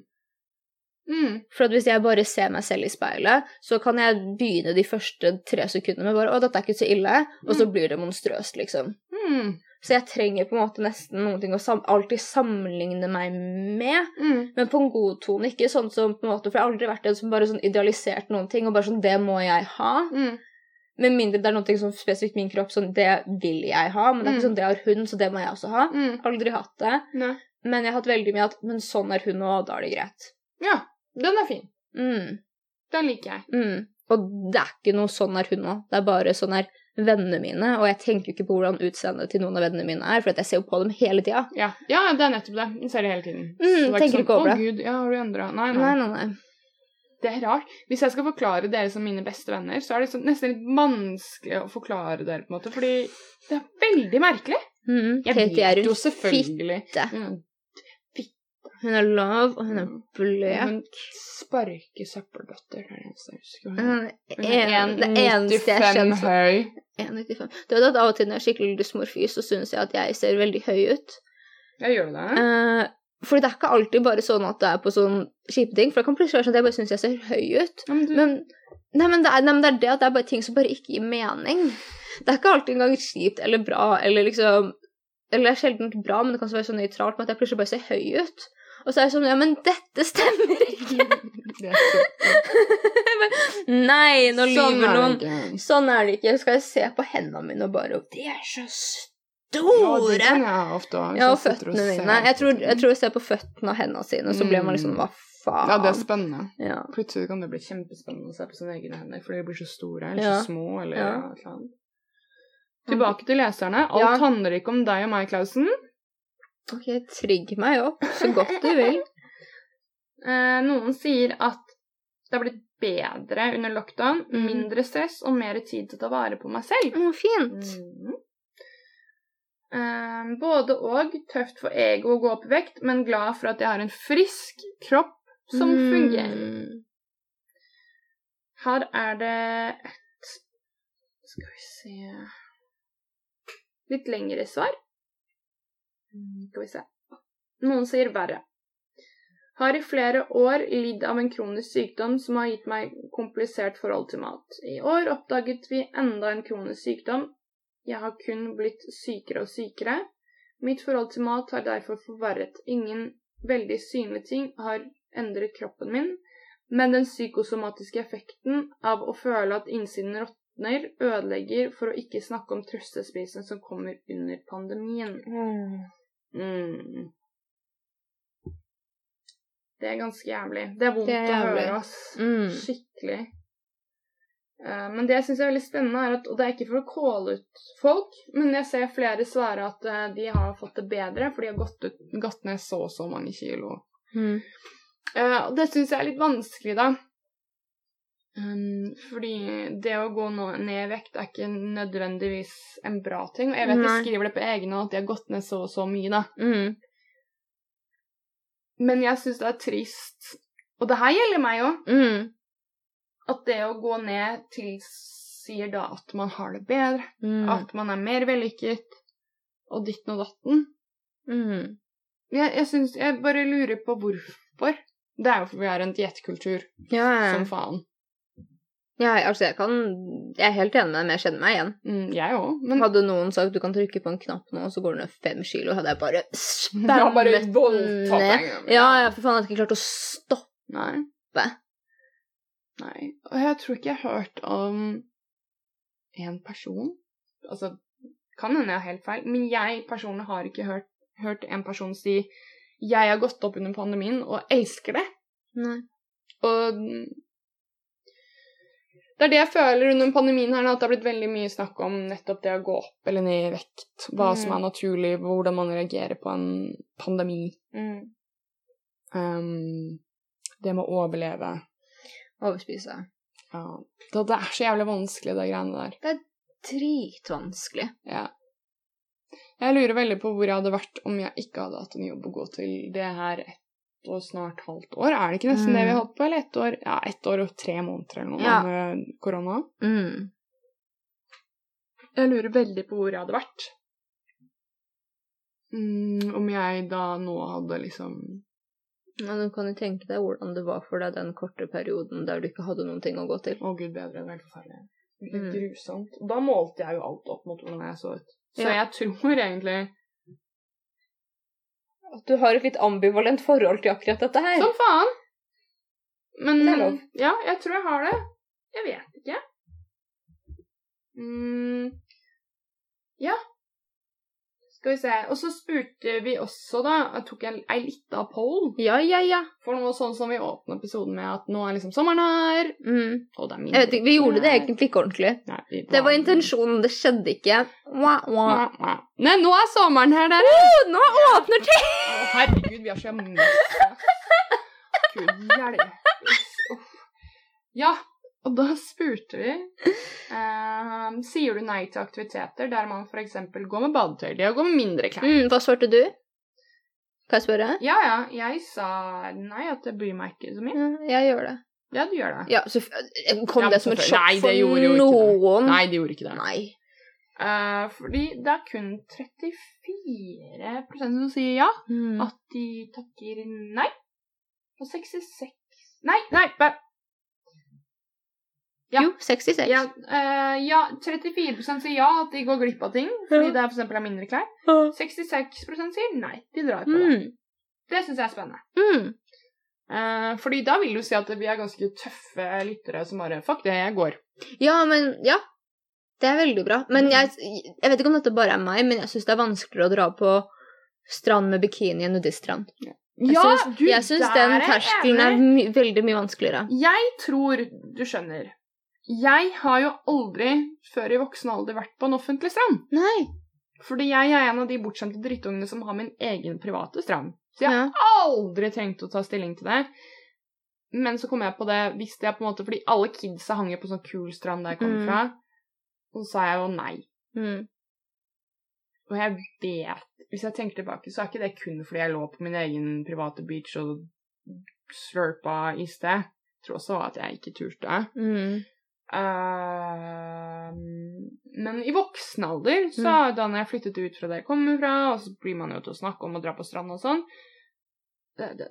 Mm. For at hvis jeg bare ser meg selv i speilet, så kan jeg begynne de første tre sekundene med bare 'Å, dette er ikke så ille', og så blir det monstrøst, liksom. Mm. Så jeg trenger på en måte nesten noen ting å sam alltid sammenligne meg med, Mm. men på en god tone. Ikke sånn som på en måte For jeg har aldri vært en som bare sånn idealisert noen ting, og bare sånn 'Det må jeg ha'. Mm. Med mindre det er noe som spesifikt min kropp sånn 'Det vil jeg ha', men det er ikke Mm. sånn 'Det har hun, så det må jeg også ha'. Mm. Aldri hatt det. Nei. Men jeg har hatt veldig mye at 'Men sånn er hun, og da er det greit'. Ja, den er fin. Mm. Den liker jeg. Mm. Og det er ikke noe sånn er hun nå. Det er bare sånn er vennene mine. Og jeg tenker jo ikke på hvordan utseendet til noen av vennene mine er, for at jeg ser jo på dem hele tida. Ja, ja det er nettopp det. Den ser det hele tiden. Så det er Mm, tenker sånn, ikke over det. Å, Gud, ja, har du endra nei, nei, Nei, nei, nei. Det er rart. Hvis jeg skal forklare dere som mine beste venner, så er det sånn, nesten litt vanskelig å forklare dere, på en måte, fordi det er veldig merkelig. Mm. Jeg Katie er vet en jo selvfølgelig fitte. Mm. Hun er lav, og hun er bløt. Hun sparker søppelbøtter, det er det eneste jeg husker. Hun Hun er er Mm, en- Det eneste jeg 1,95 kjenner høy. 1,95. Du vet at av og til når jeg er skikkelig dysmorfi, så syns jeg at jeg ser veldig høy ut. Ja, gjør du det? Eh, fordi det er ikke alltid bare sånn at det er på sånn kjipe ting. For det kan plutselig være sånn at jeg bare syns jeg ser høy ut. Ja, men du, Men, nei, men det er, nei, men det er det at det er bare ting som bare ikke gir mening. Det er ikke alltid engang kjipt eller bra, eller liksom Eller det er sjelden bra, men det kan også være så nøytralt med at jeg plutselig bare ser høy ut. Og så er jeg sånn Ja, men dette stemmer ikke! det er så, Nei, nå lyver Sånn er det noen. ikke. Sånn er det ikke. Skal jeg se på hendene mine og bare De er så Ja, det store! kan jeg ofte ha. hvis Ja, og jeg sitter føttene ser mine. Jeg tror, jeg på- Mm. tror jeg ser på føttene og hendene sine, og så blir man liksom Hva faen? Ja, det er spennende. ja. Plutselig kan det bli kjempespennende å se på sine egne hender, fordi de blir så store eller Ja. så små eller Ja. ja. et eller annet. Tilbake til leserne. Alt Ja. handler ikke om deg og meg, Klausen. Ok, trygg meg opp så godt du vil. Eh, noen sier at det har blitt bedre under lockdown. Mm. Mindre stress og mer tid til å ta vare på meg selv. Å, fint. Mhm. Eh, både og. Tøft for ego å gå opp i vekt, men glad for at jeg har en frisk kropp som Mm. fungerer. Her er det et Skal vi se Litt lengre svar. Mm, Skal vi se. Noen sier verre. Har i flere år lidd av en kronisk sykdom som har gitt meg komplisert forhold til mat. I år oppdaget vi enda en kronisk sykdom. Jeg har kun blitt sykere og sykere. Mitt forhold til mat har derfor forverret. Ingen veldig synlige ting har endret kroppen min, men den psykosomatiske effekten av å føle at innsiden råtner, ødelegger, for å ikke snakke om trøstespisen som kommer under pandemien. Mm. Det er ganske jævlig. Det er vondt Det er å jævlig. høre, ass. Mm. Skikkelig. Eh, men det jeg syns er veldig spennende, er at Og det er ikke for å kåle ut folk, men jeg ser flere svare at eh, de har fått det bedre, for de har gått, ut, gått ned så og så mange kilo. Mm. Eh, og det syns jeg er litt vanskelig, da. Um, fordi det å gå nå ned i vekt er ikke nødvendigvis en bra ting. Og jeg vet de Nei. skriver det på egne hånd at de har gått ned så og så mye, da. Mm. Men jeg syns det er trist. Og det her gjelder meg òg. Mm. At det å gå ned tilsier da at man har det bedre. Mm. At man er mer vellykket. Og ditten og datten. Mm. Jeg, jeg, synes, jeg bare lurer på hvorfor. Det er jo fordi vi har en diettkultur Ja, ja. som faen. ja, altså jeg kan Jeg er helt enig med dem, jeg kjenner meg igjen. Mm, jeg òg, men Hadde noen sagt du kan trykke på en knapp nå, og så går du ned fem kilo, hadde jeg bare Det er bare spammet ned. voldtatt en gang. Ja, ja, for faen, jeg hadde ikke klart å stoppe. Nei. Nei. Og jeg tror ikke jeg har hørt om en person Altså, kan hende jeg har helt feil, men jeg personlig har ikke hørt, hørt en person si 'Jeg har gått opp under pandemien og elsker det'. Nei. Og det er det jeg føler under pandemien her nå, at det har blitt veldig mye snakk om nettopp det å gå opp eller ned i vekt. Hva Mm. som er naturlig, hvordan man reagerer på en pandemi. Mm. Um, det med å overleve. Overspise. Ja. Det, det er så jævlig vanskelig, de greiene der. Dritvanskelig. Ja. Jeg lurer veldig på hvor jeg hadde vært om jeg ikke hadde hatt en jobb å gå til. Det her ett og snart halvt år. Er det ikke nesten det vi har holdt på? Eller ett år? Ja, ett år og tre måneder eller noe Ja. med korona. Mm. Jeg lurer veldig på hvor jeg hadde vært. Mm, om jeg da nå hadde liksom Ja, du kan jo tenke deg hvordan det var for deg den korte perioden der du ikke hadde noen ting å gå til. Å, gud bedre, det er helt forferdelig. Det er Mm. grusomt. Da målte jeg jo alt opp mot hvordan jeg så ut. Så Ja. jeg tror egentlig At du har et litt ambivalent forhold til akkurat dette her. Som faen! Men Det er lov. ja, jeg tror jeg har det. Jeg vet ikke. Mm, ja. Skal vi se. Og så spurte vi også, da jeg Tok jeg ei lita poll? Ja, ja, ja. For noe sånn som vi åpna episoden med, at nå er liksom sommeren her Mm. Og det er mindre Jeg vet ikke, Vi gjorde det klær. egentlig ikke ordentlig. Nei, vi Det var intensjonen, det skjedde ikke. Wah, wah. Nei, nå er sommeren her, dere! Oh, nå åpner ting! Å, herregud, vi har så masse Gud hjelpes. Uff. Ja, og da spurte vi ehm, Sier du nei til aktiviteter der man f.eks. går med badetøy? Det å gå med mindre klær. Mm, hva svarte du? Kan jeg spørre? Ja ja, jeg sa nei, at det bryr meg ikke så mye. Ja, jeg gjør det. Ja, du gjør det. Ja, så eh, Kom Ja, det som et selvfølgelig. Nei, sjokk det gjorde for jo ikke noen? Nei, det gjorde ikke det. Nei. Eh, fordi det er kun 34 som sier ja. Mm. At de takker nei. Og 66 Nei, nei! bare- ja. Jo, 66. Ja, eh, ja, 34 sier ja, at de går glipp av ting. Fordi det er for eksempel er mindre klær. 66 sier nei, de drar på det. Mm. Det syns jeg er spennende. Mm. Eh, fordi da vil du si at vi er ganske tøffe lyttere som bare Fuck det, jeg går. Ja, men Ja. Det er veldig bra. Mm. Men jeg, jeg vet ikke om dette bare er meg, men jeg syns det er vanskeligere å dra på strand med bikini enn nudiststrand. Jeg syns- du, jeg syns der den er jeg terskelen enig. er my veldig mye vanskeligere. Jeg tror du skjønner. Jeg har jo aldri før i voksen alder vært på en offentlig strand. Nei. Fordi jeg er en av de bortskjemte drittungene som har min egen private strand. Så jeg Ja. har aldri trengt å ta stilling til det. Men så kom jeg på det, visste jeg på en måte, fordi alle kidsa hang jo på sånn kul strand der jeg kom Mm. fra. Og så sa jeg jo nei. Mm. Og jeg vet Hvis jeg tenker tilbake, så er ikke det kun fordi jeg lå på min egen private beach og slurpa i sted. Jeg tror også at jeg ikke turte. Mm. Eh, men i voksen alder, så Mm. da når jeg flyttet ut fra der jeg kommer fra, og så blir man jo til å snakke om å dra på stranda og sånn det, det,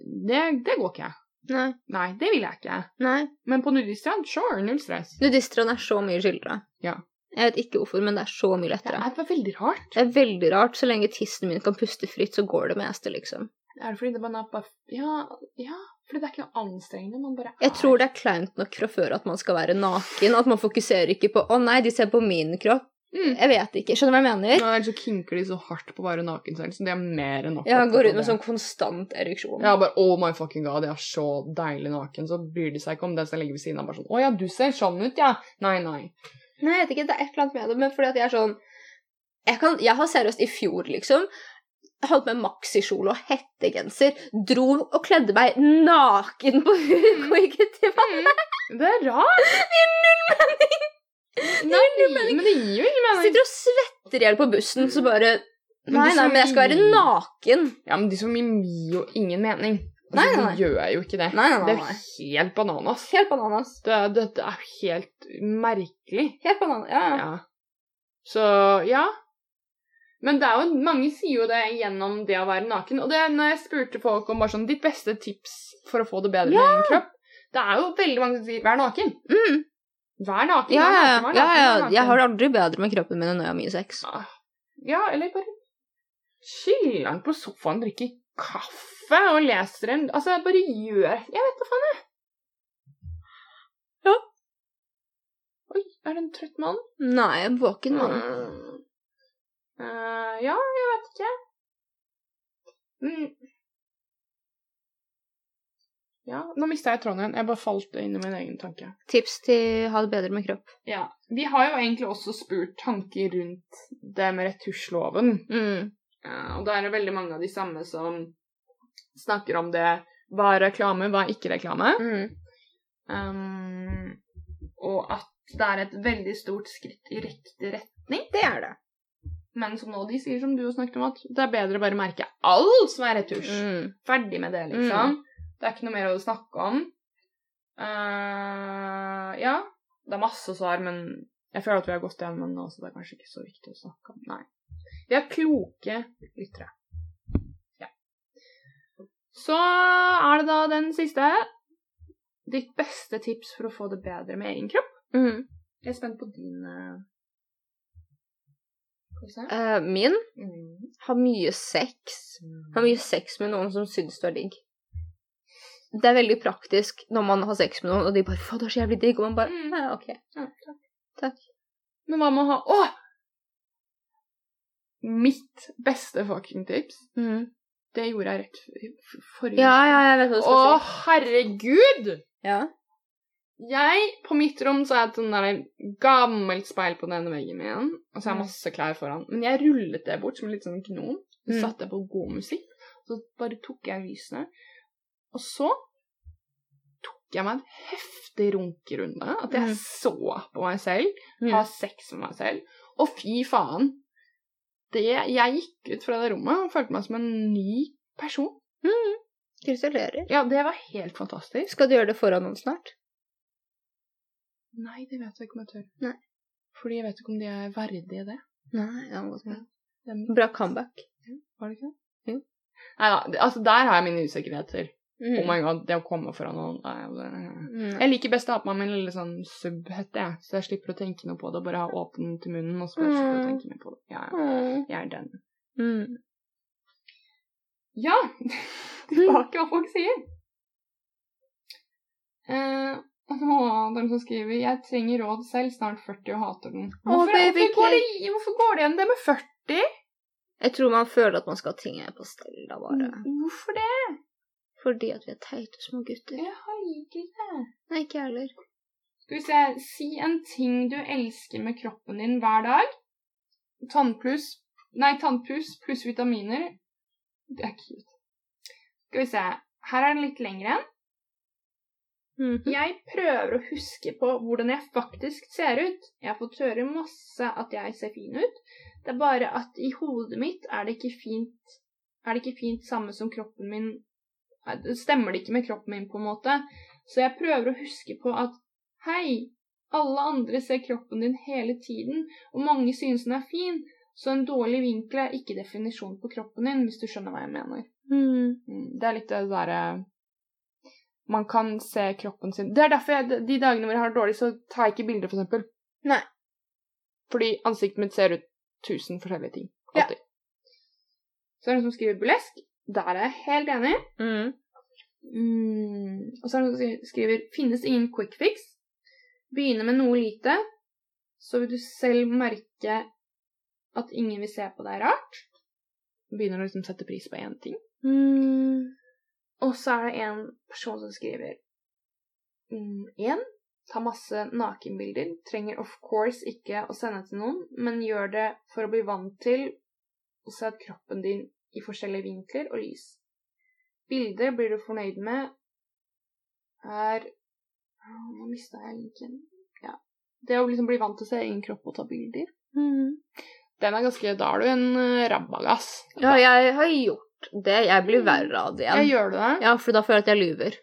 det, det går ikke. Nei. Nei, det vil jeg ikke. Nei. Men på nudiststrand, sure, null stress. Nudiststrand er så mye skildra. Ja. Jeg vet ikke hvorfor, men det er så mye Det lettere. er bare veldig rart. Det er veldig rart. Så lenge tissen min kan puste fritt, så går det meste, liksom. Er det fordi det bare er bare Ja, ja. Fordi det er ikke noe anstrengende. Man bare Jeg tror det er kleint nok fra før at man skal være naken, at man fokuserer ikke på 'Å nei, de ser på min kropp'. Mm. Jeg vet ikke. Skjønner du hva jeg mener? Ja, Ellers så kinker de så hardt på bare nakensex, så de er mer enn nok. Jeg opptatt går av ut med det. sånn konstant ereksjon. Ja, bare oh my fucking god, jeg er så deilig naken. Så bryr de seg ikke om den som ligger ved siden av. bare sånn, Å ja, du ser sånn ut, ja. Nei, nei. Nei, jeg vet ikke, det er et eller annet med det, men fordi at jeg er sånn Jeg, kan, jeg har seriøst i fjor, liksom, holdt med maxikjole og hettegenser, dro og kledde meg naken på huk og gikk ut til vannet. Det er rart. Nei, men det gir jo ikke mening. Sitter og svetter i hjel på bussen, så bare Men Nei, det er så nei, men jeg skal være mye. naken. Ja, men de som gir gir jo ingen mening. Altså, Nei, nei, nei. De gjør jo ikke det. Nei, nei, Det nei. er nei. jo helt bananas. Helt bananas. Det, dette er jo helt merkelig. Helt bananas. Ja, ja. Ja. Så ja. Men det er jo, mange sier jo det gjennom det å være naken. Og det er når jeg spurte folk om bare sånn, ditt beste tips for å få det bedre med din kropp Det er jo veldig mange som sier 'vær naken'. Mm. Vær naken, Ja, vær ja, naken, vær naken. ja, ja. vær naken. Ah. Jeg har det aldri bedre med kroppen min enn når jeg har mye sex. Ja, eller bare chiller'n på sofaen, drikker kaffe og leser en Altså, bare gjør Jeg vet da faen, jeg. Ja. Oi, er det en trøtt mann? Nei, jeg er våken Mm. mann. Eh, ja, jeg vet ikke. Mm. Ja, nå mista jeg tråden igjen. Jeg bare falt inn i min egen tanke. Tips til ha det bedre med kropp. Ja, Vi har jo egentlig også spurt tanker rundt det med retusjloven. Mm. Eh, og da er det veldig mange av de samme som snakker om det hva er reklame, hva er ikke reklame. Mm. Um, og at det er et veldig stort skritt i riktig rett. Det er det. Men som nå de sier, som du jo snakket om, at det er bedre å bare merke alt som er retusj. Mm. Ferdig med det, liksom. Det er ikke noe mer å snakke om. Eh, ja, det er masse svar, men jeg føler at vi har gått igjennom den nå, så det er kanskje ikke så viktig å snakke om. Nei. Vi er kloke lyttere. Ja. Så er det da den siste. Ditt beste tips for å få det bedre med egen kropp. Mm. Jeg er spent på din eh, Skal vi se. Eh, min Mm. har mye sex. Har mye sex med noen som syns du er digg. Det er veldig praktisk når man har sex med noen, og de bare 'Faen, du er så jævlig digg', og man bare Mm. «Ja, OK. Ja, takk. Takk. Men hva med å ha Å! Mitt beste fucking tips. Mm. Det gjorde jeg rett f- f- forrige Ja, ja, jeg vet hva du Å, skal si. herregud! Ja. Jeg, på mitt rom, så har jeg et sånn der gammelt speil på den ene veggen min. Og så har jeg Mm. masse klær foran. Men jeg rullet det bort som en litt sånn gnom. Så Mm. satte jeg på god musikk. Så bare tok jeg lysene. Og så tok jeg meg en heftig runkerunde. At jeg Mm. så på meg selv Mm. ha sex med meg selv. Og fy faen! Det, jeg gikk ut fra det rommet og følte meg som en ny person. Gratulerer. Ja, det var helt fantastisk. Skal du gjøre det foran noen snart? Nei, det vet jeg ikke om jeg tør. Nei. Fordi jeg vet ikke om de er verdige det. Nei, det må godt være. Dem, Bra comeback. var det ikke det? Jo. Mm. Nei da, det- altså der har jeg mine usikkerheter. Mm. Oh my god, det å komme foran noen nei, det- Mm. Jeg liker best å ha på meg min lille sånn sub-hette, jeg. Så jeg slipper å tenke noe på det. og Bare ha åpen til munnen, og så bare slipper jeg å Mm. tenke mer på det. Ja, ja. Mm. jeg er den. Mm. Ja! Tilbake hva folk sier. Eh, å, det er noen som skriver 'Jeg trenger råd selv, snart 40 og hater den'. Hvorfor, baby hvorfor, går, det, hvorfor går det igjen det med 40? Jeg tror man føler at man skal ha ting på stell da, bare. Hvorfor det? Fordi at vi er teite små gutter. Jeg har ikke det. Nei, ikke jeg heller. Skal vi se Si en ting du elsker med kroppen din hver dag. Tannpluss Nei, tannpuss pluss vitaminer. Det er cute. Skal vi se. Her er den litt lengre en. Mm. Jeg prøver å huske på hvordan jeg faktisk ser ut. Jeg har fått høre masse at jeg ser fin ut. Det er bare at i hodet mitt er det ikke fint Er det ikke fint samme som kroppen min Nei, det Stemmer det ikke med kroppen min, på en måte? Så jeg prøver å huske på at Hei, alle andre ser kroppen din hele tiden, og mange synes den er fin, så en dårlig vinkel er ikke definisjon på kroppen din, hvis du skjønner hva jeg mener. Mm, Det er litt det derre Man kan se kroppen sin Det er derfor jeg, de dagene hvor jeg har det dårlig, så tar jeg ikke bilder, for eksempel. Nei. Fordi ansiktet mitt ser ut tusen forskjellige ting. Ja. Alltid. Så er det noen som skriver burlesk. Der er jeg helt enig. Mm. Og så er det noen som skri- skriver Finnes ingen quick fix. Begynne med noe lite, så vil du selv merke at ingen vil se på deg rart. Begynner å liksom sette pris på én ting. Mm, Og så er det en person som skriver mm, En, ta masse nakenbilder. Trenger of course ikke å sende til noen, men gjør det for å bli vant til å se at kroppen din i forskjellige vinkler og lys. Bilder blir du fornøyd med er Å, Nå mista jeg linken. Ja. Det å liksom bli vant til å se egen kropp og ta bilder. Mm. Den er ganske Da er du en eh, rabagass. Ja, jeg har gjort det. Jeg blir Mm. verre av det Ja, igjen. gjør du det? Ja, for da føler jeg at jeg lyver.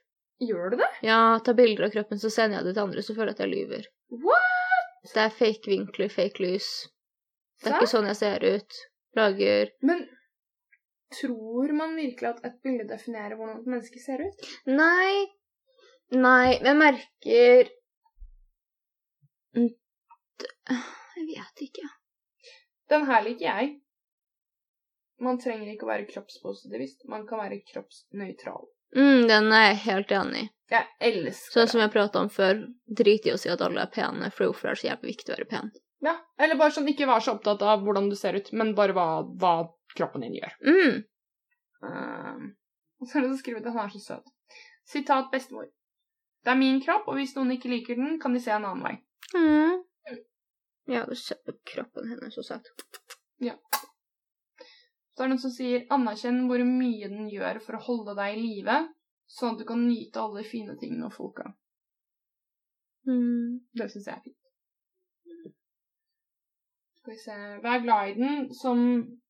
Gjør du det? Ja, ta bilder av kroppen, så sender jeg det til andre, så føler jeg at jeg lyver. What? Så det er fake vinkler, fake lys. Det er Sant? ikke sånn jeg ser ut. Lager Men tror man virkelig at et bilde definerer hvordan et menneske ser ut? Nei. Nei, men jeg merker Mm, d- Jeg vet ikke. Den her liker jeg. Man trenger ikke å være kroppspositivist, man kan være kroppsnøytral. Mm, den er jeg helt enig i. Jeg elsker Sånn som jeg prata om før, drit i å si at alle er pene, for hvorfor er det så jævlig viktig å være pen? Ja, Eller bare sånn ikke være så opptatt av hvordan du ser ut, men bare hva, hva kroppen din gjør. Mm. Ah. Ehm, Og så er det så skrevet at han er så søt. Sitat bestemor. Det er min kropp, og hvis noen ikke liker den, kan de se en annen vei. Mm. Jeg hadde sett på kroppen hennes og sagt Så er det noen som sier anerkjenn hvor mye den gjør for å holde deg i live, sånn at du kan nyte alle de fine tingene og folka. mm. Det syns jeg er fint. Skal vi se Vær glad i den som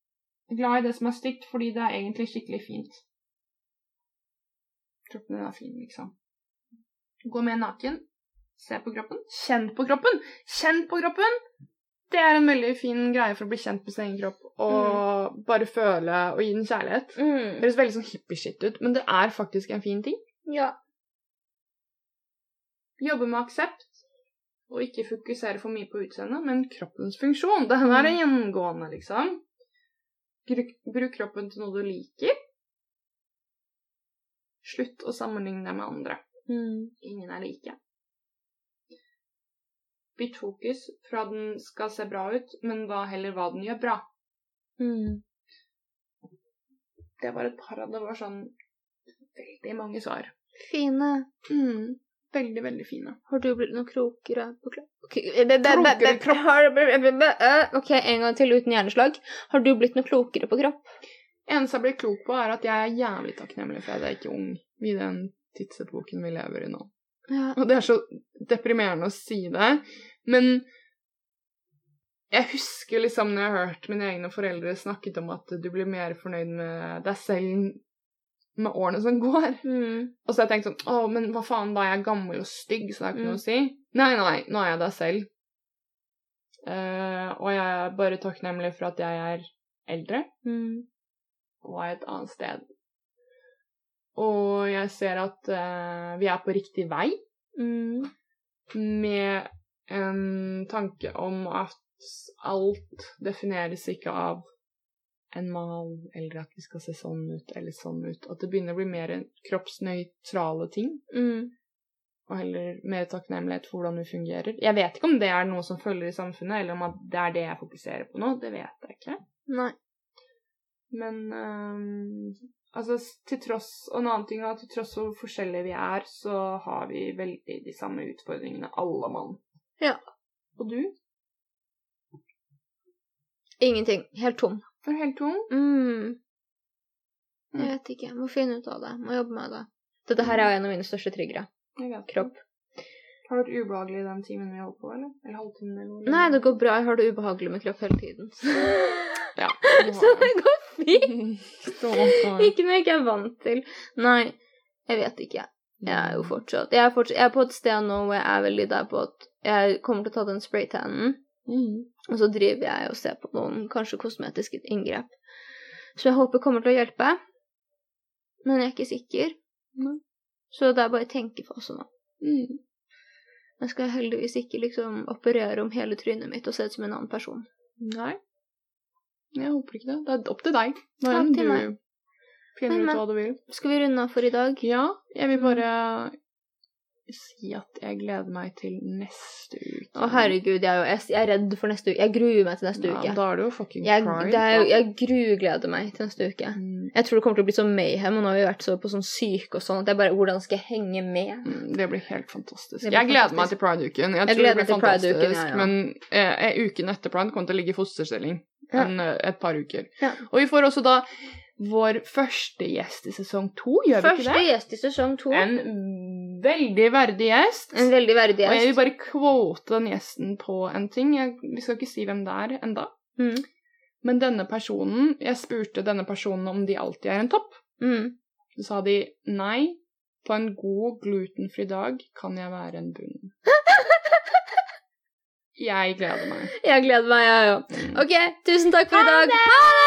Glad i det som er stygt, fordi det er egentlig skikkelig fint. Kroppen din er fin, liksom. Gå mer naken. Se på kroppen. Kjenn på kroppen! Kjenn på kroppen! Det er en veldig fin greie for å bli kjent med sin egen kropp og bare føle og gi den kjærlighet. Mm. Det høres veldig sånn hippie-shit ut, men det er faktisk en fin ting. Ja. Jobbe med aksept, og ikke fokusere for mye på utseendet, men kroppens funksjon. Den her er gjengående, liksom. Gru- Bruk kroppen til noe du liker. Slutt å sammenligne deg med andre. Mm. Ingen er like. Bytt fokus fra den skal se bra ut, men hva heller hva den gjør bra. Mm. Det var et par av det var sånn veldig mange svar. Fine. Mm, Veldig, veldig fine. Har du blitt noe krokere på kropp? Krokere Krokere kropp? OK, en gang til uten hjerneslag. Har du blitt noe klokere på kropp? eneste jeg blir klok på, er at jeg er jævlig takknemlig for at jeg er ikke ung i den tidsepoken vi lever i nå. Ja. Og det er så deprimerende å si det, men jeg husker liksom når jeg hørte mine egne foreldre snakket om at du blir mer fornøyd med deg selv med årene som går. Mm. Og så har jeg tenkt sånn Å, men hva faen, da er jeg gammel og stygg, så det har ikke Mm. noe å si. Nei, nei, nå er jeg deg selv. Eh, og jeg er bare takknemlig for at jeg er eldre og er et annet sted. Og jeg ser at eh, vi er på riktig vei Mm. med en tanke om at alt defineres ikke av en mal, eller at vi skal se sånn ut eller sånn ut. At det begynner å bli mer kroppsnøytrale ting, Mm. og heller mer takknemlighet for hvordan vi fungerer. Jeg vet ikke om det er noe som følger i samfunnet, eller om at det er det jeg fokuserer på nå. Det vet jeg ikke. Nei. Men ehm, altså, s- til tross Og en annen ting er at til tross for hvor forskjellige vi er, så har vi veldig de samme utfordringene, alle mann. Ja. Og du? Ingenting. Helt tom. Du er helt tung. Mm. Jeg vet ikke. Jeg må finne ut av det. Må jobbe med det. Dette her er en av mine største triggere. Jeg vet. Kropp. Har det vært ubehagelig den timen vi holdt på, eller? Eller halvtimen, eller noe? Nei, det går bra. Jeg har det ubehagelig med kropp hele tiden. Ja. Så det går fint. Ikke Ikke noe jeg ikke er vant til. Nei, jeg vet ikke. Jeg er jo fortsatt Jeg er, fortsatt, jeg er på et sted nå hvor jeg er veldig der på at jeg kommer til å ta den spraytannen, Mm. og så driver jeg og ser på noen kanskje kosmetiske inngrep. Så jeg håper kommer til å hjelpe, men jeg er ikke sikker. Nei. Mm. Så det er bare tenkefase nå. Jeg skal heldigvis ikke liksom operere om hele trynet mitt og se ut som en annen person. Nei. Jeg håper ikke det. Det er opp til deg. Når Opp enn til du meg. finner Men, ut men- hva du vil. Skal vi runde av for i dag? Ja, jeg vil bare Mm. si at jeg gleder meg til neste uke. Å herregud, jeg er jo jeg, jeg er redd for neste uke. Jeg gruer meg til neste Ja, uke. da er det jo fucking Jeg, pride. det er jo, da. jeg grugleder meg til neste uke. Mm, Jeg tror det kommer til å bli sånn mayhem, og nå har vi vært så på sånn syke og sånn, at jeg bare Hvordan skal jeg henge med? mm, Det blir helt fantastisk. Det blir jeg gleder fantastisk. meg til pride-uken. Jeg, Jeg tror det gleder blir meg til fantastisk, Pride-uken, ja, ja. men eh, eh, uken etter pride kommer til å ligge i fosterstilling Ja. en, eh, et par uker. Ja. Og vi får også da vår første gjest i sesong to, gjør vi Første ikke det? gjest i sesong to. En, En veldig verdig gjest. veldig verdig Og jeg vil gjest. bare kvote den gjesten på en ting. Jeg, vi skal ikke si hvem det er enda. Mm. Men denne personen, jeg spurte denne personen om de alltid er en topp. Mm. Så sa de nei, på en god glutenfri dag kan jeg være en bunn. Jeg gleder meg. Mm. Jeg gleder meg, jeg òg. OK, tusen takk for i dag. Ha det!